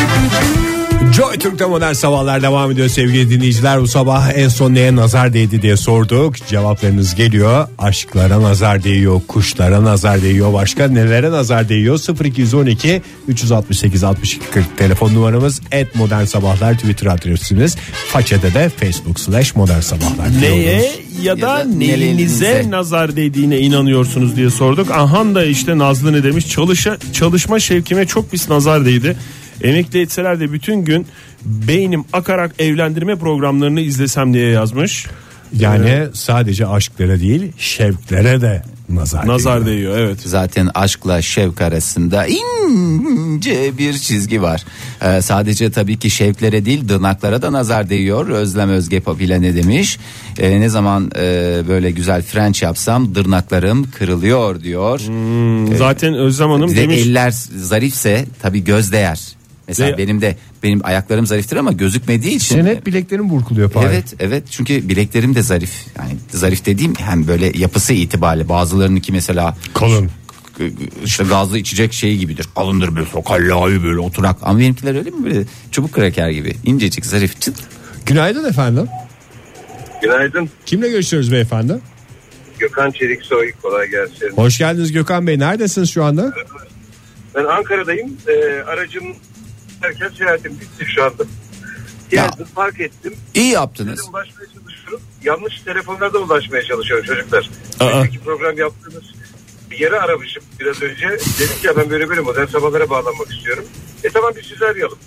Joy Türk'te modern sabahlar devam ediyor sevgili dinleyiciler. Bu sabah en son neye nazar değdi diye sorduk. Cevaplarınız geliyor. Aşklara nazar değiyor, kuşlara nazar değiyor, başka nelere nazar değiyor? 0212 368 62 40 telefon numaramız et modern sabahlar Twitter adresimiz. Façede de Facebook slash modern sabahlar. diyoruz. Neye ya da da nelinize neyinize nazar değdiğine inanıyorsunuz diye sorduk. Ahan da işte Nazlı ne demiş? Çalışa, çalışma şevkime çok pis nazar değdi. Emekli etseler de bütün gün beynim akarak evlendirme programlarını izlesem diye yazmış. Ee, Yani sadece aşklara değil şevklere de nazar, Nazar değiyor. değiyor evet. Zaten aşkla şevk arasında ince bir çizgi var. Ee, sadece tabii ki şevklere değil dırnaklara da nazar değiyor. Özlem Özge Papile ne demiş? Ee, ne zaman e, böyle güzel French yapsam dırnaklarım kırılıyor diyor. Zaten Özlem Hanım Bir de Hmm. demiş eller zarifse tabii göz değer. Mesela Ve- benim de benim ayaklarım zariftir ama gözükmediği için. Senin hep bileklerin burkuluyor Fahir. Evet evet çünkü bileklerim de zarif. Yani zarif dediğim hem böyle yapısı itibariyle bazılarınınki mesela Kalın. işte gazlı içecek şeyi gibidir. Kalındır böyle sokallağı böyle oturak. Ama benimkiler öyle mi böyle çubuk kraker gibi incecik zarif çıt. Günaydın efendim. Günaydın. Kimle görüşüyoruz beyefendi? Gökhan Çeliksoy kolay gelsin. Hoş geldiniz Gökhan Bey. Neredesiniz şu anda? Ben Ankara'dayım. Ee, aracım derken seyahatim bitti şu anda. Geldim park ettim. İyi yaptınız. Size ulaşmaya çalışıyorum. Yanlış telefonlarda ulaşmaya çalışıyorum çocuklar. Aa. Önceki program yaptığınız bir yere aramışım biraz önce. Dedim ki ya ben böyle böyle modern sabahlara bağlanmak istiyorum. E tamam biz sizi arayalım.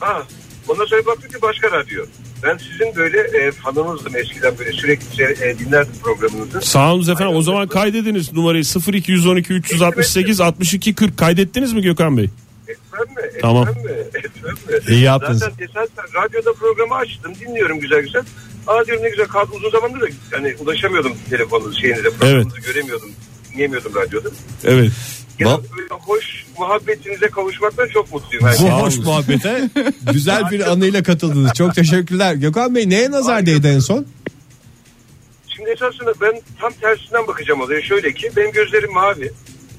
Ha, ondan sonra baktım ki başka radyo. Ben sizin böyle e, fanınızdım eskiden böyle sürekli e, dinlerdim programınızı. Sağolunuz efendim o Aynen. zaman kaydediniz numarayı 0212 368 62 40 kaydettiniz mi Gökhan Bey? Etmem mi? Etmem Tamam. mi? Etmem mi? İyi yaptınız. Zaten tesadüfen radyoda programı açtım. Dinliyorum güzel güzel. Aa diyorum ne güzel kaldı uzun zamandır da hani ulaşamıyordum telefonunuzu şeyinize. Programınızı göremiyordum. Dinleyemiyordum radyoda. Evet. Genel Ba- böyle hoş muhabbetinize kavuşmaktan çok mutluyum. her Bu şey. hoş muhabbete güzel bir anıyla katıldınız. Çok teşekkürler. Gökhan Bey neye nazar değdi en son? Şimdi esasında ben tam tersinden bakacağım olaya. Şöyle ki benim gözlerim mavi.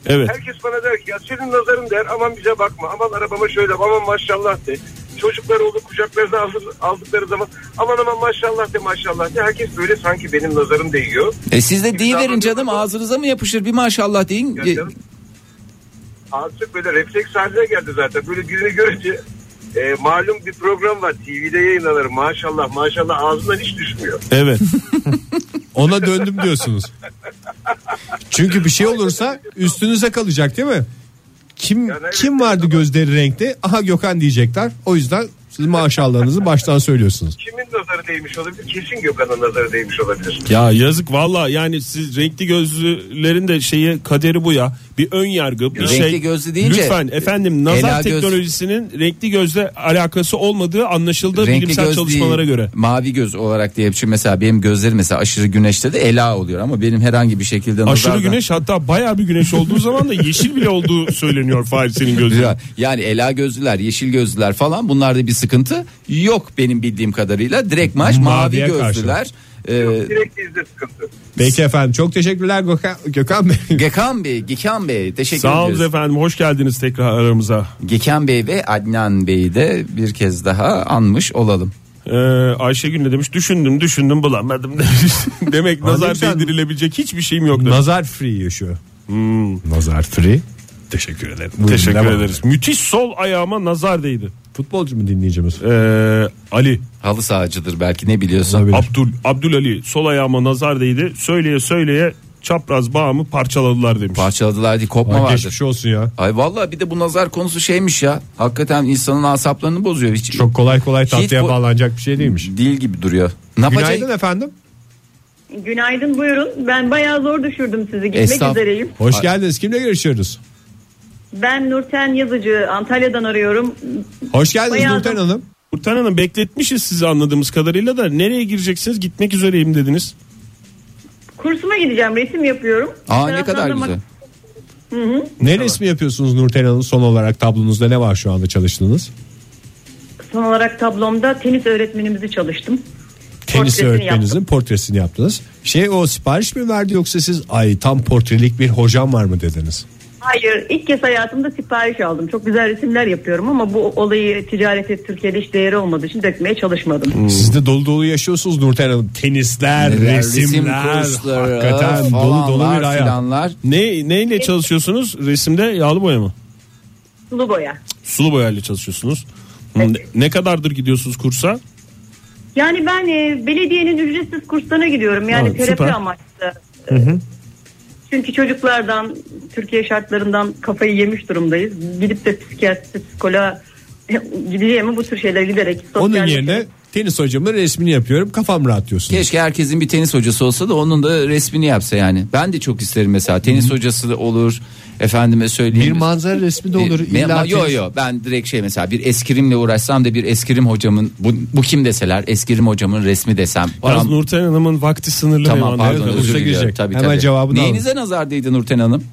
Evet. Herkes bana der ki ya senin nazarın der aman bize bakma aman arabama şöyle bak, aman maşallah de. Çocuklar oldu kucaklarına aldı- aldıkları zaman aman aman maşallah de maşallah de. Herkes böyle sanki benim nazarım değiyor. E siz de deyiverin canım ağzınıza mı yapışır bir maşallah deyin. E, Yani canım, artık böyle refleks haline geldi zaten. Böyle birini görünce e, malum bir program var TV'de yayınlanır maşallah maşallah ağzından hiç düşmüyor. Evet. Ona döndüm diyorsunuz. Çünkü bir şey olursa üstünüze kalacak değil mi? Kim Yani evet, kim vardı gözleri renkli? Aha Gökhan diyecekler. O yüzden siz maşallahınızı baştan söylüyorsunuz. Kimin nazarı değmiş olabilir? Kesin Gökhan'ın nazarı değmiş olabilir. Ya yazık valla yani siz renkli gözlülerin de şeyi kaderi bu ya. Bir ön yargı bir Renkli şey. gözlü deyince- Lütfen efendim Ela nazar göz- teknolojisinin renkli gözle alakası olmadığı anlaşıldı bilimsel göz çalışmalara değil, göre. Mavi göz olarak diye çünkü mesela benim gözlerim mesela aşırı güneşte de ela oluyor ama benim herhangi bir şekilde Aşırı nazardan- güneş hatta bayağı bir güneş olduğu zaman da yeşil bile olduğu söyleniyor Fahir senin gözlerin. Ya- Yani ela gözlüler, yeşil gözlüler falan bunlarda bir sıkıntı yok benim bildiğim kadarıyla. Direkt maç mavi Maviye karşı. gözlüler. Ee, Direkt izle sıkıntı. Peki efendim çok teşekkürler Gökhan, Gökhan Bey. Gökhan Bey, Gökhan Bey teşekkür Sağ olun ediyoruz. efendim hoş geldiniz tekrar aramıza. Gökhan Bey ve Adnan Bey'i de bir kez daha anmış olalım. Ee, Ayşegül ne demiş? Düşündüm düşündüm bulamadım demiş. Demek nazar güzel. değdirilebilecek hiçbir şeyim yoktu. Nazar free yaşıyor. Nazar Free. Teşekkür ederim. Buyurun, Teşekkür devam. ederiz. Müthiş sol ayağıma nazar değdi. Futbolcu mu dinleyicimiz? Ee, Ali Halı sahacıdır belki ne biliyorsun. Abdul Abdül Ali sol ayağıma nazar değdi. Söyleye söyleye çapraz bağımı parçaladılar demiş. Parçaladılar diye kopma Ay, vardır. Geçmiş olsun ya. Ay vallahi bir de bu nazar konusu şeymiş ya. Hakikaten insanın asaplarını bozuyor hiç. Çok kolay kolay tatlıya bu- bağlanacak bir şey değilmiş. değil gibi duruyor. Ne yapacak? Günaydın efendim. Günaydın buyurun. Ben bayağı zor düşürdüm sizi. Gitmek Estağfurullah. üzereyim. Hoş geldiniz. Kimle görüşüyoruz? Ben Nurten Yazıcı Antalya'dan arıyorum. Hoş geldiniz Bayağı- Nurten Hanım. Kurtan Hanım bekletmişiz sizi anladığımız kadarıyla da nereye gireceksiniz gitmek üzereyim dediniz. Kursuma gideceğim. Resim yapıyorum. Aa ne Taraftan kadar da mak- güzel. Ne resmi yapıyorsunuz Nurten Hanım? Son olarak tablonuzda ne var şu anda çalıştığınız? Son olarak tablomda tenis öğretmenimizi çalıştım. Tenis Portresini öğretmeninizin yaptım. portresini yaptınız. Şey o sipariş mi verdi yoksa siz ay tam portrelik bir hocam var mı dediniz? Hayır ilk kez hayatımda sipariş aldım. Çok güzel resimler yapıyorum ama bu olayı ticarete Türkiye'de hiç değeri olmadığı için dökmeye çalışmadım. Hmm. Siz de dolu dolu yaşıyorsunuz Nurten Hanım. Tenisler, Neler, resim resimler, kursları, hakikaten dolu dolu falanlar, bir hayat. filanlar. Ne neyle çalışıyorsunuz? Resimde yağlı boya mı? Sulu boya. Sulu boyayla çalışıyorsunuz. Ne, ne kadardır gidiyorsunuz kursa? Yani ben e, belediyenin ücretsiz kurslarına gidiyorum. Yani Ha, terapi süper. amaçlı. Çünkü çocuklardan, Türkiye şartlarından kafayı yemiş durumdayız. Gidip de psikiyatriste, psikoloğa gideceğime bu tür şeylere giderek. Onun sosyal- yerine tenis hocamın resmini yapıyorum kafam rahat diyorsunuz. Keşke herkesin bir tenis hocası olsa da onun da resmini yapsa yani. Ben de çok isterim mesela tenis hocası olur. Efendime Bir söyleyeyim. manzara resmi de olur. E, illa ama yo tenis- yo ben direkt şey mesela bir eskrimle uğraşsam da bir eskrim hocamın bu, bu kim deseler eskrim hocamın resmi desem. Biraz Param- Nurten Hanım'ın vakti sınırlı. tamam benim anladığım pardon kadarıyla. özür Kursa diliyorum. girecek. Tabii, Hemen tabii. cevabını Neyinize nazar değdi Nurten Hanım?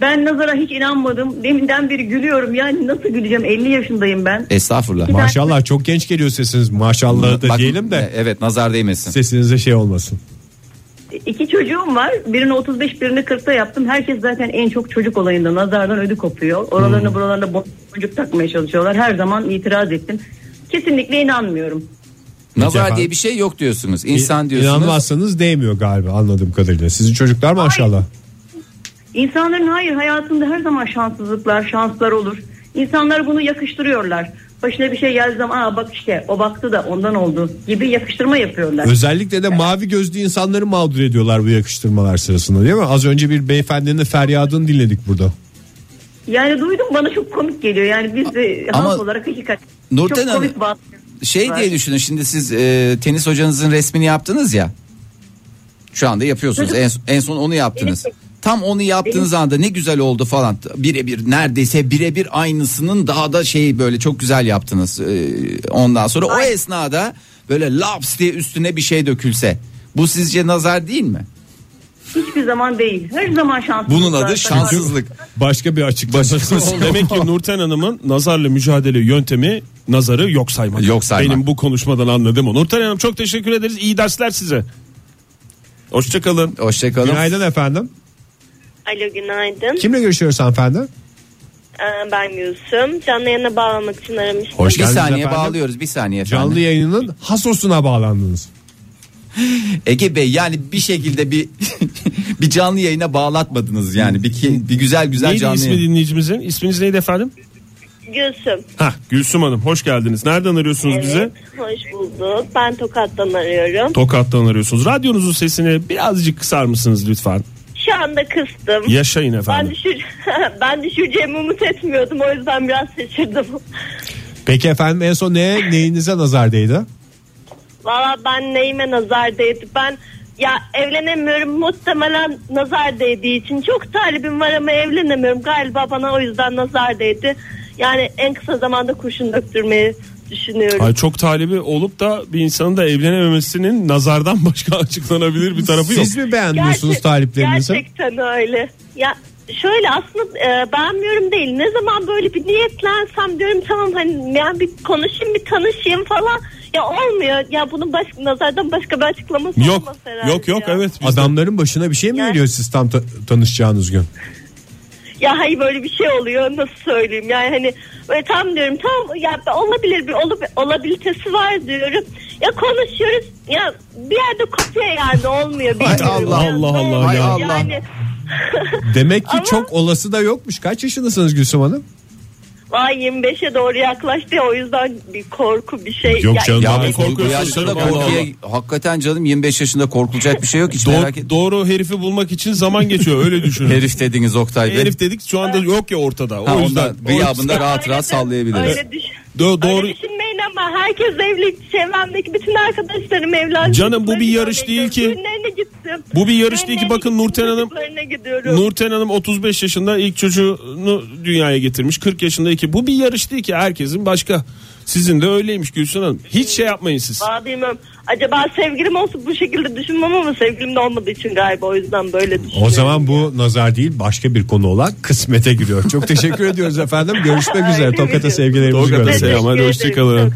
Ben nazara hiç inanmadım. Deminden beri gülüyorum. Yani nasıl güleceğim? 50 yaşındayım ben. Estağfurullah. Maşallah çok genç geliyor sesiniz. Maşallah da Bak- diyelim de e, Evet nazar değmesin. sesinize şey olmasın. İki çocuğum var. Birini 35, birini 40'ta yaptım. Herkes zaten en çok çocuk olayında nazardan ödü kopuyor. Oralarına buralarına boncuk takmaya çalışıyorlar. Her zaman itiraz ettim. Kesinlikle inanmıyorum. Nazar Peki diye bir şey yok diyorsunuz. İnsan diyorsunuz. İnanmazsanız değmiyor galiba anladığım kadarıyla. Sizin çocuklar maşallah. İnsanların hayır hayatında her zaman şanssızlıklar, şanslar olur. İnsanlar bunu yakıştırıyorlar. Başına bir şey geldiği zaman aa bak işte o baktı da ondan oldu gibi yakıştırma yapıyorlar. Özellikle de mavi gözlü insanları mağdur ediyorlar bu yakıştırmalar sırasında değil mi? Az önce bir beyefendinin feryadını dinledik burada. Yani duydum bana çok komik geliyor. Yani biz de Ama- halk olarak hakikaten Nurten çok komik Hanım, bazı- Şey var. diye düşünün şimdi siz e, tenis hocanızın resmini yaptınız ya. Şu anda yapıyorsunuz. En, en son onu yaptınız. Tam onu yaptığınız anda ne güzel oldu falan. Birebir neredeyse birebir aynısının daha da şeyi böyle çok güzel yaptınız. E, ondan sonra o esnada böyle laps diye üstüne bir şey dökülse. Bu sizce nazar değil mi? Hiçbir zaman değil. Her zaman şanssız. Bunun adı şanssızlık. Başka bir açıklaması. Demek ki Nurten Hanım'ın nazarla mücadele yöntemi nazarı yok saymak. Yok saymak. Benim bu konuşmadan anladığım o. Nurten Hanım çok teşekkür ederiz. İyi dersler size. Hoşçakalın. Hoşçakalın. Günaydın efendim. Alo günaydın. Kimle görüşüyoruz hanımefendi? Ee, ben Gülsüm. Canlı yayına bağlamak için aramıştım. Hoş Bir geldiniz saniye efendim. bağlıyoruz bir saniye efendim. Canlı yayının hasosuna bağlandınız. Ege Bey yani bir şekilde bir bir canlı yayına bağlatmadınız yani bir ki- bir güzel güzel Neydi canlı. ismi yayın. dinleyicimizin? İsminiz neydi efendim? Gülsüm. Hah Ah, Gülsüm Hanım hoş geldiniz. Nereden arıyorsunuz Evet, bize? Hoş bulduk. Ben Tokat'tan arıyorum. Tokat'tan arıyorsunuz. Radyonuzun sesini birazcık kısar mısınız lütfen? Şu anda kıstım. Yaşayın ben, efendim. düşür ben düşüreceğimi umut etmiyordum. O yüzden biraz şaşırdım. Peki efendim en son ne neyinize nazar değdi? Valla ben neyime nazar değdi. Ben ya evlenemiyorum muhtemelen nazar değdiği için. Çok talibim var ama evlenemiyorum. Galiba bana o yüzden nazar değdi. Yani en kısa zamanda kurşun döktürmeyi düşünüyorum. Ay çok talebi olup da bir insanın da evlenememesinin nazardan başka açıklanabilir bir tarafı yok. Siz mi beğenmiyorsunuz Gerçek- taliplerinizi? Gerçekten öyle. Ya şöyle aslında e, beğenmiyorum değil. Ne zaman böyle bir niyetlensem diyorum tamam hani yani bir konuşayım bir tanışayım falan. Ya olmuyor. Ya bunun başka nazardan başka bir açıklaması Yok. olmaz herhalde Yok yok ya. evet. biz de- Adamların başına bir şey mi Yani- geliyor siz tam ta- tanışacağınız gün? Ya hayır böyle bir şey oluyor nasıl söyleyeyim yani hani böyle tam diyorum tam ya olabilir bir olup olabilitesi var diyorum. Ya konuşuyoruz ya bir yerde kopuyor yani olmuyor. bilmiyorum. Allah, Ya Allah, ne Allah oluyor? ya. Yani Demek ki çok olası da yokmuş. Kaç yaşındasınız Gülsüm Hanım? Vay 25'e doğru yaklaştı ya, o yüzden bir korku bir şey. Yok Ya, canım, işte- ya bu korku yaşında korkuya hakikaten canım 25 yaşında korkulacak bir şey yok hiç Do- merak et. Doğru herifi bulmak için zaman geçiyor öyle düşünün. Herif dediniz Oktay Bey. Herif dedik şu anda yok ya ortada. Ha, O yüzden ondan gıyabında rahat rahat sallayabiliriz. Öyle, düş- Do- doğru. öyle düşünmeyin ama herkes evli. Çevremdeki bütün arkadaşlarım evlendi. Canım, bu bir yarış değil ki. Düğünlerine gittim. Bu bir yarış değil ki bakın Nurten Hanım Çocuklarına gidiyorum. Nurten Hanım 35 yaşında ilk çocuğunu dünyaya getirmiş. 40 yaşında iki. Bu bir yarış değil ki herkesin başka. Sizin de öyleymiş Gülsün Hanım. Hiç şey yapmayın siz. Vallahi bilmiyorum. Acaba sevgilim olsa bu şekilde düşünmem ama sevgilim de olmadığı için galiba o yüzden böyle düşünüyorum. O zaman bu nazar değil başka bir konu olan kısmete giriyor. Çok teşekkür ediyoruz efendim. Görüşmek üzere. Tokat'a sevgilerimizi Tokat'a gönderelim. selam. Hadi hoşçakalın.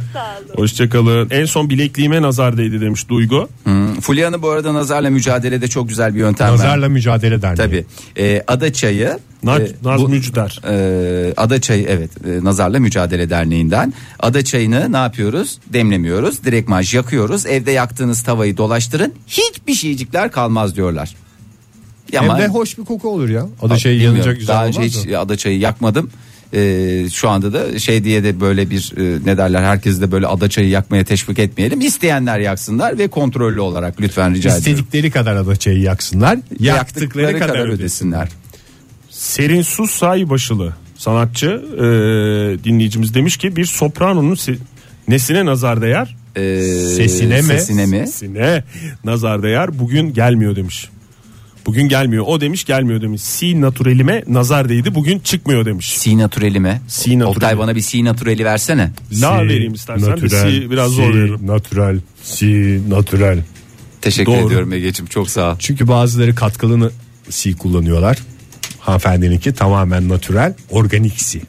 Hoşçakalın. En son bilekliğime nazar değdi demiş Duygu. Hmm. Fulya Hanım bu arada nazarla mücadelede çok güzel bir yöntem var. Nazarla mücadele derneği. Tabii. Ee, Adaçay'ı Naz- e, Naz bu- Mücder. e, Adaçay'ı evet e, Nazarla Mücadele Derneği'nden Adaçay'ını ne yapıyoruz? Demlemiyoruz. Direktman yakıyoruz. Evde yaktığınız tavayı dolaştırın. Hiçbir şeycikler kalmaz diyorlar. Hem de hoş bir koku olur ya. O da şey Bilmiyorum. yanacak güzel Daha olmaz önce hiç mı? adaçayı yakmadım. Ee, şu anda da şey diye de böyle bir e, ne derler herkesi de böyle adaçayı yakmaya teşvik etmeyelim. İsteyenler yaksınlar ve kontrollü olarak lütfen rica ediyorum. İstedikleri kadar adaçayı yaksınlar. Yaktıkları, Yaktıkları kadar, kadar ödesin. ödesinler. Serin Su Saybaşılı sanatçı e, dinleyicimiz demiş ki bir sopranonun se- nesine nazar değer? Sesine mi? Ee, sesine mi? Sesine nazar değer bugün gelmiyor demiş. Bugün gelmiyor. O demiş gelmiyor demiş. Si naturelime nazar değdi bugün çıkmıyor demiş. Si natureli mi? Si natureli. Oktay bana bir si natureli versene. La Si, vereyim istersen de natürel, si biraz zor si, veririm. Natural, si natural. Teşekkür Doğru. ediyorum Ege'cim çok sağ ol. Çünkü bazıları katkılını si kullanıyorlar. Hanımefendininki tamamen natural, organik si.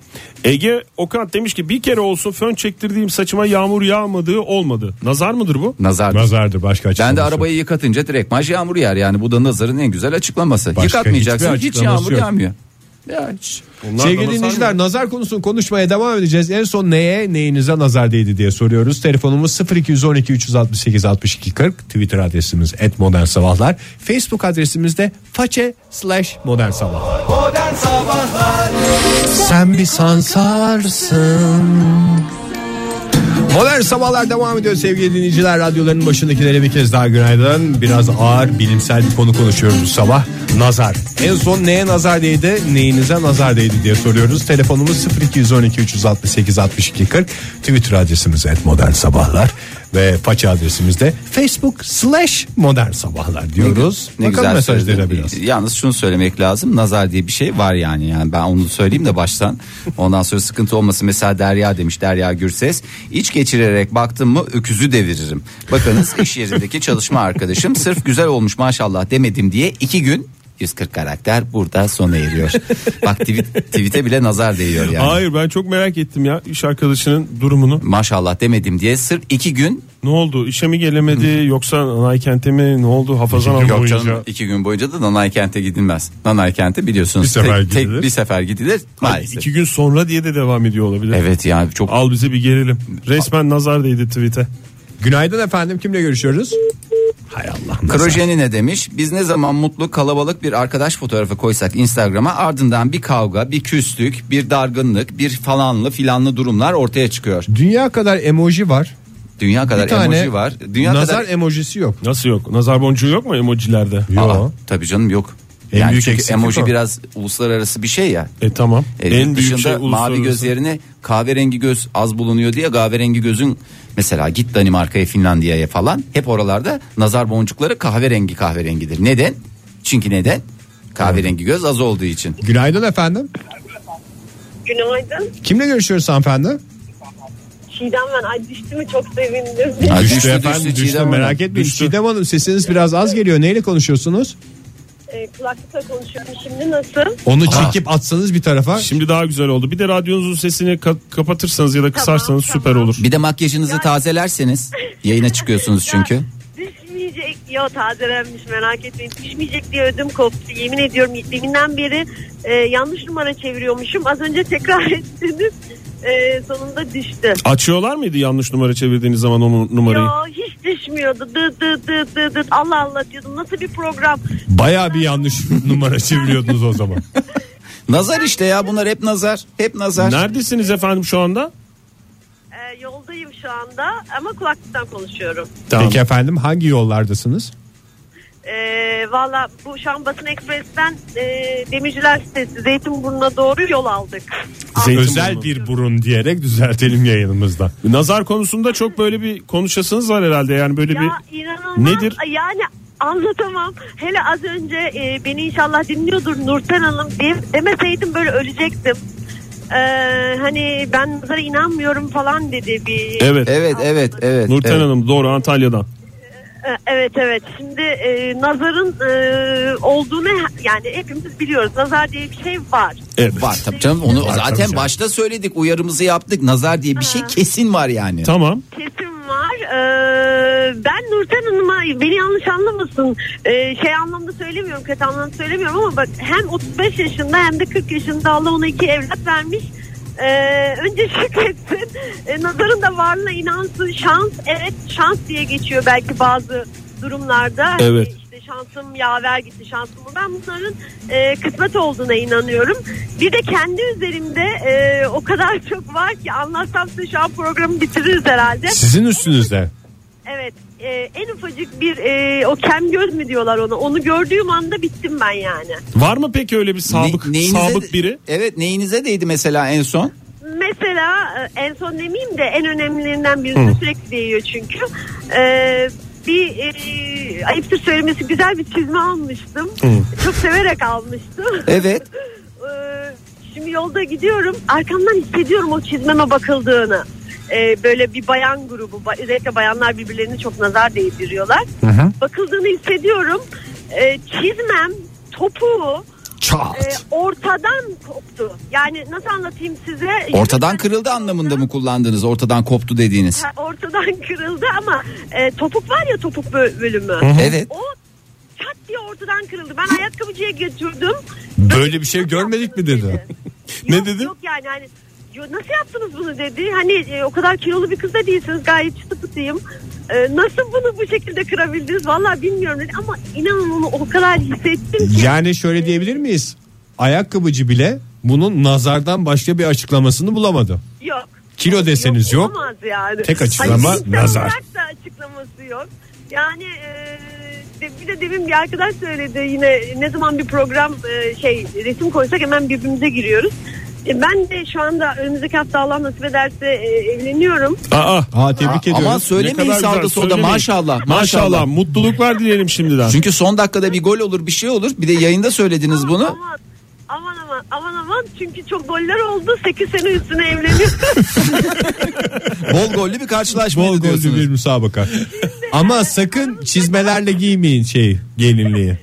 Ege Okan demiş ki bir kere olsun fön çektirdiğim saçıma yağmur yağmadığı olmadı. Nazar mıdır bu? Nazar. Nazardır başka açıklaması Ben de yok. arabayı yıkatınca direkt maj yağmur yer. Yani bu da nazarın en güzel açıklaması. Başka Yıkatmayacaksın hiçbir hiç yağmur açıklaması yok. yağmıyor. Ya hiç. Bunlar da Sevgili nazar dinleyiciler nazar konusunu konuşmaya devam edeceğiz. En son neye neyinize nazar değdi diye soruyoruz. Telefonumuz 0212 368 62 40. Twitter adresimiz et modern sabahlar. Facebook adresimiz de façe slash modern sabahlar. Modern Sabahlar Sen bir sansarsın. Modern sabahlar devam ediyor sevgili dinleyiciler. Radyoların başındakilere bir kez daha günaydın. Biraz ağır bilimsel bir konu konuşuyoruz bu sabah. Nazar. En son neye nazar değdi, neyinize nazar değdi diye soruyoruz. Telefonumuz 0212 368 62 40. Twitter adresimiz et modern sabahlar. Ve faça adresimiz de facebook slash modern sabahlar diyoruz. Ne Bakalım güzel mesajlara söyledin. biraz. Yalnız şunu söylemek lazım. Nazar diye bir şey var yani. Yani ben onu söyleyeyim de baştan. Ondan sonra sıkıntı olmasın. Mesela Derya demiş Derya Gürses. İç geçirerek baktım mı öküzü deviririm. Bakınız iş yerindeki çalışma arkadaşım sırf güzel olmuş maşallah demedim diye iki gün 140 karakter burada sona eriyor. Bak tweet, tweet'e bile nazar değiyor yani. Hayır ben çok merak ettim ya iş arkadaşının durumunu. Maşallah demedim diye sırf iki gün Ne oldu? İşe mi gelemedi yoksa Naykent'e mi? Ne oldu? Hafazan Yok aldı. canım iki gün boyunca da Nanay kente gidilmez. Nanay kente biliyorsunuz Bir sefer tek, tek gidilir. bir sefer gidilir maalesef. İki gün sonra diye de devam ediyor olabilir. Evet yani çok Al bize bir gerilim. Resmen nazar değdi tweet'e. Günaydın efendim kimle görüşüyoruz? Hay Allah. nazar. Krojeni ne demiş? Biz ne zaman mutlu kalabalık bir arkadaş fotoğrafı koysak Instagram'a ardından bir kavga, bir küslük, bir dargınlık, bir falanlı filanlı durumlar ortaya çıkıyor. Dünya kadar emoji var. Dünya kadar Bir tane emoji var. Dünya nazar kadar emojisi yok. Nasıl yok? Nazar boncuğu yok mu emojilerde? Aa, tabii canım yok. En yani büyük çünkü eksiklik emoji o. biraz uluslararası bir şey ya. E tamam. E, en büyük dışında şey mavi uluslararası. göz yerine kahverengi göz az bulunuyor diye kahverengi gözün mesela git Danimarka'ya Finlandiya'ya falan hep oralarda nazar boncukları kahverengi kahverengidir. Neden? Çünkü neden? Kahverengi göz az olduğu için. Günaydın efendim. Günaydın. Kimle görüşüyoruz hanımefendi? Çiğdem ben. Ay düştü mü çok sevindim. Ha, düştü, düştü, efendim düştü düştü, Çiğdem merak Hanım, etmeyin. düştü. Çiğdem Hanım sesiniz biraz az geliyor. Neyle konuşuyorsunuz? Ee, kulaklıkla konuşuyorum. Şimdi nasıl? Onu çekip atsanız bir tarafa. Şimdi daha güzel oldu. Bir de radyonuzun sesini ka- kapatırsanız ya da kısarsanız Tamam, süper tamam. olur. Bir de makyajınızı tazelerseniz yayına çıkıyorsunuz çünkü. Düşmeyecek. Yo tazelenmiş merak etmeyin. Düşmeyecek diye ödüm koptu. Yemin ediyorum deminden beri e, yanlış numara çeviriyormuşum. Az önce tekrar ettiniz. E, sonunda düştü. Açıyorlar mıydı yanlış numara çevirdiğiniz zaman onun numarayı? Yo hiç düş, çalışmıyordu. Dı dı dı dı dı. Allah Allah diyordum. Nasıl bir program? Baya bir yanlış numara çeviriyordunuz o zaman. nazar işte ya bunlar hep nazar. Hep nazar. Neredesiniz efendim şu anda? Ee, yoldayım şu anda ama kulaklıktan konuşuyorum. Peki efendim hangi yollardasınız? Ee, Valla bu şu an Basın Ekspres'ten e, Demirciler sitesi Zeytinburnu'na doğru yol aldık. Özel bir burun diyerek düzeltelim yayınımızda. Nazar konusunda çok böyle bir konuşasınız var herhalde yani böyle bir Ya inanılmaz. Nedir? Yani anlatamam. Hele az önce e, beni inşallah dinliyordur Nurten Hanım diye demeseydim böyle ölecektim. Ee, hani ben nazara inanmıyorum falan dedi bir. Evet. Evet evet evet. Nurten Hanım doğru Antalya'dan. Ee, Evet evet. Şimdi e, nazarın e, olduğunu yani hepimiz biliyoruz. Nazar diye bir şey var. Var tabii canım onu Var zaten tabii canım. başta söyledik uyarımızı yaptık nazar diye bir şey kesin var yani. Tamam. Kesin var. Ee, ben Nurten Hanım'a beni yanlış anlamasın. Ee, şey anlamda söylemiyorum, kötü anlamda söylemiyorum ama bak hem 35 yaşında hem de 40 yaşında Allah ona iki evlat vermiş. Ee, önce şükretsin. Ee, nazarın da varlığına inansın. Şans, evet şans diye geçiyor belki bazı durumlarda. Hani Evet. işte şansım yaver gitti şansım bu. Ben bunların e, kısmet olduğuna inanıyorum. Bir de kendi üzerimde e, o kadar çok var ki anlatsam size şu an programı bitiririz herhalde. Sizin üstünüzde. Evet e, en ufacık bir e, o kem göz mü diyorlar ona onu gördüğüm anda bittim ben yani. Var mı peki öyle bir sabık neyinize- sabık biri? Evet neyinize değdi mesela en son? Mesela e, en son demeyeyim de en önemlilerinden birisi sürekli değiyor çünkü. E, bir e, ayıptır söylemesi güzel bir çizme almıştım. Çok severek almıştım. Evet. E, Şimdi yolda gidiyorum arkamdan hissediyorum o çizmeme bakıldığını. E, böyle bir bayan grubu ba- özellikle bayanlar birbirlerini çok nazar değdiriyorlar. Bakıldığını hissediyorum. E, çizmem topuğu e, ortadan koptu. Yani nasıl anlatayım size? Ortadan kırıldı anlamında mı kullandınız ortadan koptu dediğiniz? Ha, Ortadan kırıldı ama e, topuk var ya topuk bö- bölümü. Hı hı. Evet. O çat diye ortadan kırıldı. Ben ayakkabıcıya götürdüm. Böyle bir şey görmedik mi dedi. ne dedi? Yok yani hani "Yo, nasıl yaptınız bunu dedi. Hani e, o kadar kilolu bir kız da değilsiniz gayet çıtı pıtıyım. E, nasıl bunu bu şekilde kırabildiniz Vallahi bilmiyorum dedi. Ama inanın onu o kadar hissettim ki. Yani şöyle diyebilir miyiz? Ayakkabıcı bile bunun nazardan başka bir açıklamasını bulamadı. Yok. Kilo deseniz yok. Olamaz yani. Tek açıklama Hani fiziksel nazar. olarak da açıklaması yok. Yani e, de- bir de demin bir arkadaş söyledi yine ne zaman bir program e, şey resim koysak hemen birbirimize giriyoruz. E, ben de şu anda önümüzdeki hafta Allah nasip ederse e, evleniyorum. Aa, Aa tebrik ediyorum. aman söylemeyin Ne kadar güzel, sağda solda, söylemeyin. maşallah, Maşallah. maşallah. Mutluluklar dileyelim şimdiden. Çünkü son dakikada bir gol olur bir şey olur bir de yayında söylediniz bunu. Aman aman aman aman çünkü çok goller oldu 8 sene üstüne evleniyorum. Bol gollü bir karşılaşma Bol gollü bir müsabaka. Ama sakın çizmelerle giymeyin şey gelinliği.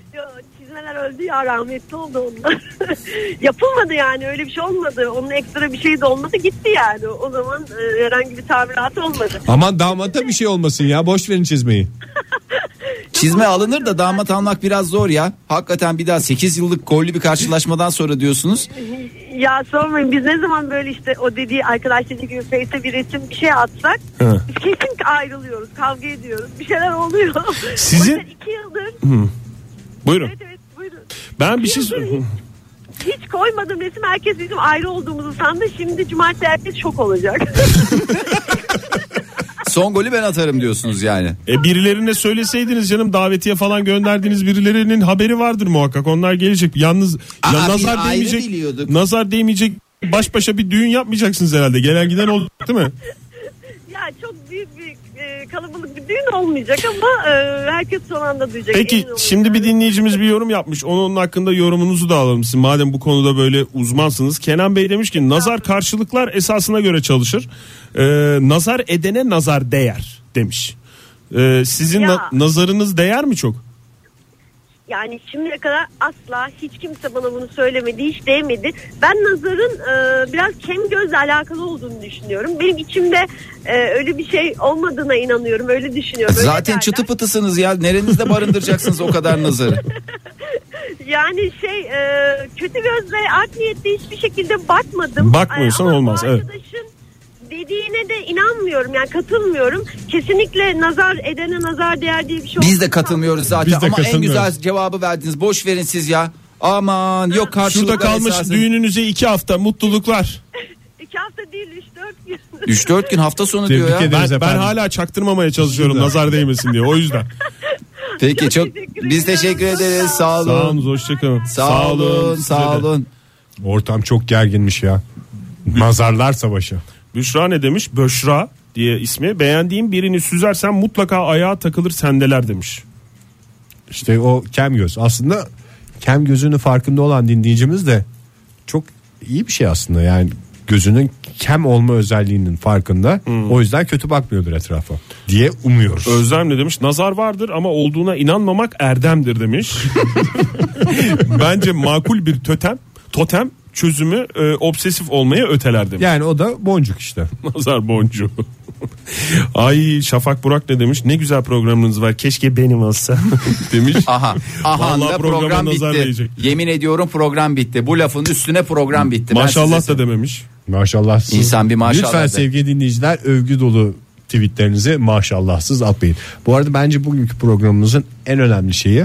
Çizmeler öldü ya rahmetli oldu onlar. Yapılmadı yani öyle bir şey olmadı. Onun ekstra bir şey de olmadı gitti yani. O zaman e, herhangi bir tamiratı olmadı. Aman damata bir şey olmasın ya boş verin çizmeyi. Çizme alınır da damat almak biraz zor ya. Hakikaten bir daha 8 yıllık gollü bir karşılaşmadan sonra diyorsunuz. Ya sormayın biz ne zaman böyle işte o dediği arkadaş dediği gibi Face'e bir resim bir şey atsak Hı. biz kesin ayrılıyoruz kavga ediyoruz bir şeyler oluyor. Sizin- O yüzden iki yıldır Hı. Buyurun. buyurun. Ben bir şey sor- hiç koymadım resim herkes bizim ayrı olduğumuzu sandı şimdi cumartesi herkes şok olacak. Son golü ben atarım diyorsunuz yani. E birilerine söyleseydiniz canım davetiye falan gönderdiğiniz birilerinin haberi vardır muhakkak. Onlar gelecek. Yalnız Aa, ya biz nazar ayrı değmeyecek. biliyorduk. Nazar değmeyecek. Baş başa bir düğün yapmayacaksınız herhalde. Gelen giden oldu değil mi? Ya çok büyük bir e, kalabalık bir düğün olmayacak ama e, herkes son anda duyacak. Peki emin olun. şimdi bir dinleyicimiz bir yorum yapmış. Onun, onun hakkında yorumunuzu da alalım. Siz madem bu konuda böyle uzmansınız. Kenan Bey demiş ki nazar karşılıklar esasına göre çalışır. Ee, nazar edene nazar değer demiş. Ee, sizin Ya. na- nazarınız değer mi çok? Yani şimdiye kadar asla hiç kimse bana bunu söylemedi, hiç değmedi. Ben nazarın e, biraz kem gözle alakalı olduğunu düşünüyorum. Benim içimde e, öyle bir şey olmadığına inanıyorum, öyle düşünüyorum. Öyle Zaten derler. çıtı pıtısınız ya. Nerenizde barındıracaksınız o kadar nazarı? Yani şey e, kötü gözle art niyetle hiçbir şekilde bakmadım. Bakmıyorsan Ay, ama olmaz, bu evet. Arkadaşın dediğine de inanmıyorum yani katılmıyorum. kesinlikle nazar edene nazar değer diye bir şey Biz de olmaz. katılmıyoruz zaten Biz de ama en katılmıyoruz. güzel cevabı verdiniz. Boş verin siz ya. Aman yok karşılıklar Şurada kalmış esasında- düğününüze iki hafta mutluluklar. İki hafta değil üç dört gün. 3-4 gün hafta sonu Tebrik diyor ya. ederiz Ben- ben efendim. hala çaktırmamaya çalışıyorum nazar değmesin diye o yüzden. Peki çok biz teşekkür ederiz. Sağ olun. Sağ olun, hoşçakalın. Sağ olun, size sağ de. olun. Ortam çok gerginmiş ya. Mazarlar savaşı. Büşra ne demiş? Böşra diye ismi. Beğendiğim birini süzersen mutlaka ayağa takılır sendeler demiş. İşte o kem göz. Aslında kem gözünün farkında olan dinleyicimiz de çok iyi bir şey aslında. Yani gözünün kem olma özelliğinin farkında. O yüzden kötü bakmıyordur etrafa diye umuyoruz. Özlem ne demiş? Nazar vardır ama olduğuna inanmamak erdemdir demiş. Bence makul bir tötem, totem çözümü e, obsesif olmaya öteler demiş. Yani o da boncuk işte. Nazar boncuğu. Ay Şafak Burak ne demiş? Ne güzel programınız var. Keşke benim olsa demiş. Aha. Aha Vallahi da program programa nazar bitti. değecek. Yemin ediyorum program bitti. Bu lafın üstüne program bitti. Ben Maşallah size- da dememiş. Maşallahsız. İnsan bir maşallah Lütfen der. sevgili dinleyiciler övgü dolu tweetlerinizi maşallahsız atmayın. Bu arada bence bugünkü programımızın en önemli şeyi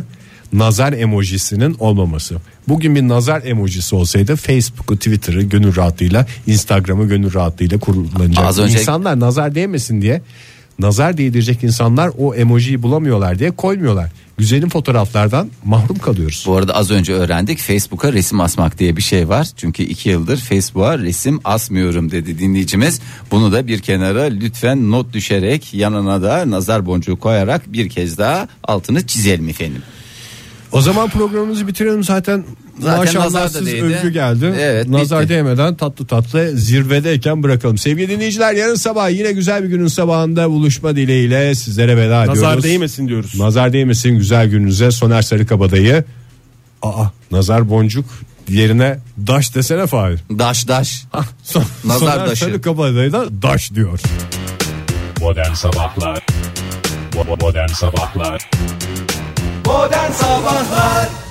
nazar emojisinin olmaması. Bugün bir nazar emojisi olsaydı Facebook'u, Twitter'ı gönül rahatlığıyla, Instagram'ı gönül rahatlığıyla kullanacak. Az önce- İnsanlar nazar değmesin diye nazar değdirecek insanlar o emojiyi bulamıyorlar diye koymuyorlar. Güzelim fotoğraflardan mahrum kalıyoruz. Bu arada az önce öğrendik Facebook'a resim asmak diye bir şey var. Çünkü iki yıldır Facebook'a resim asmıyorum dedi dinleyicimiz. Bunu da bir kenara lütfen not düşerek yanına da nazar boncuğu koyarak bir kez daha altını çizelim efendim. O zaman programımızı bitirelim zaten. Zaten Maşallahsız nazar da değdi. övgü geldi. Evet, nazar bitti. değmeden tatlı tatlı zirvedeyken bırakalım. Sevgili dinleyiciler yarın sabah yine güzel bir günün sabahında buluşma dileğiyle sizlere veda ediyoruz. Nazar değmesin diyoruz. Nazar değmesin güzel gününüze. Soner Sarıkabadayı. Aa nazar boncuk yerine daş desene Fahir. Daş daş. Son- Nazar Soner daşı. Sarıkabadayı da daş diyor. Modern Sabahlar Bo- bo- Modern Sabahlar Modern Sabahlar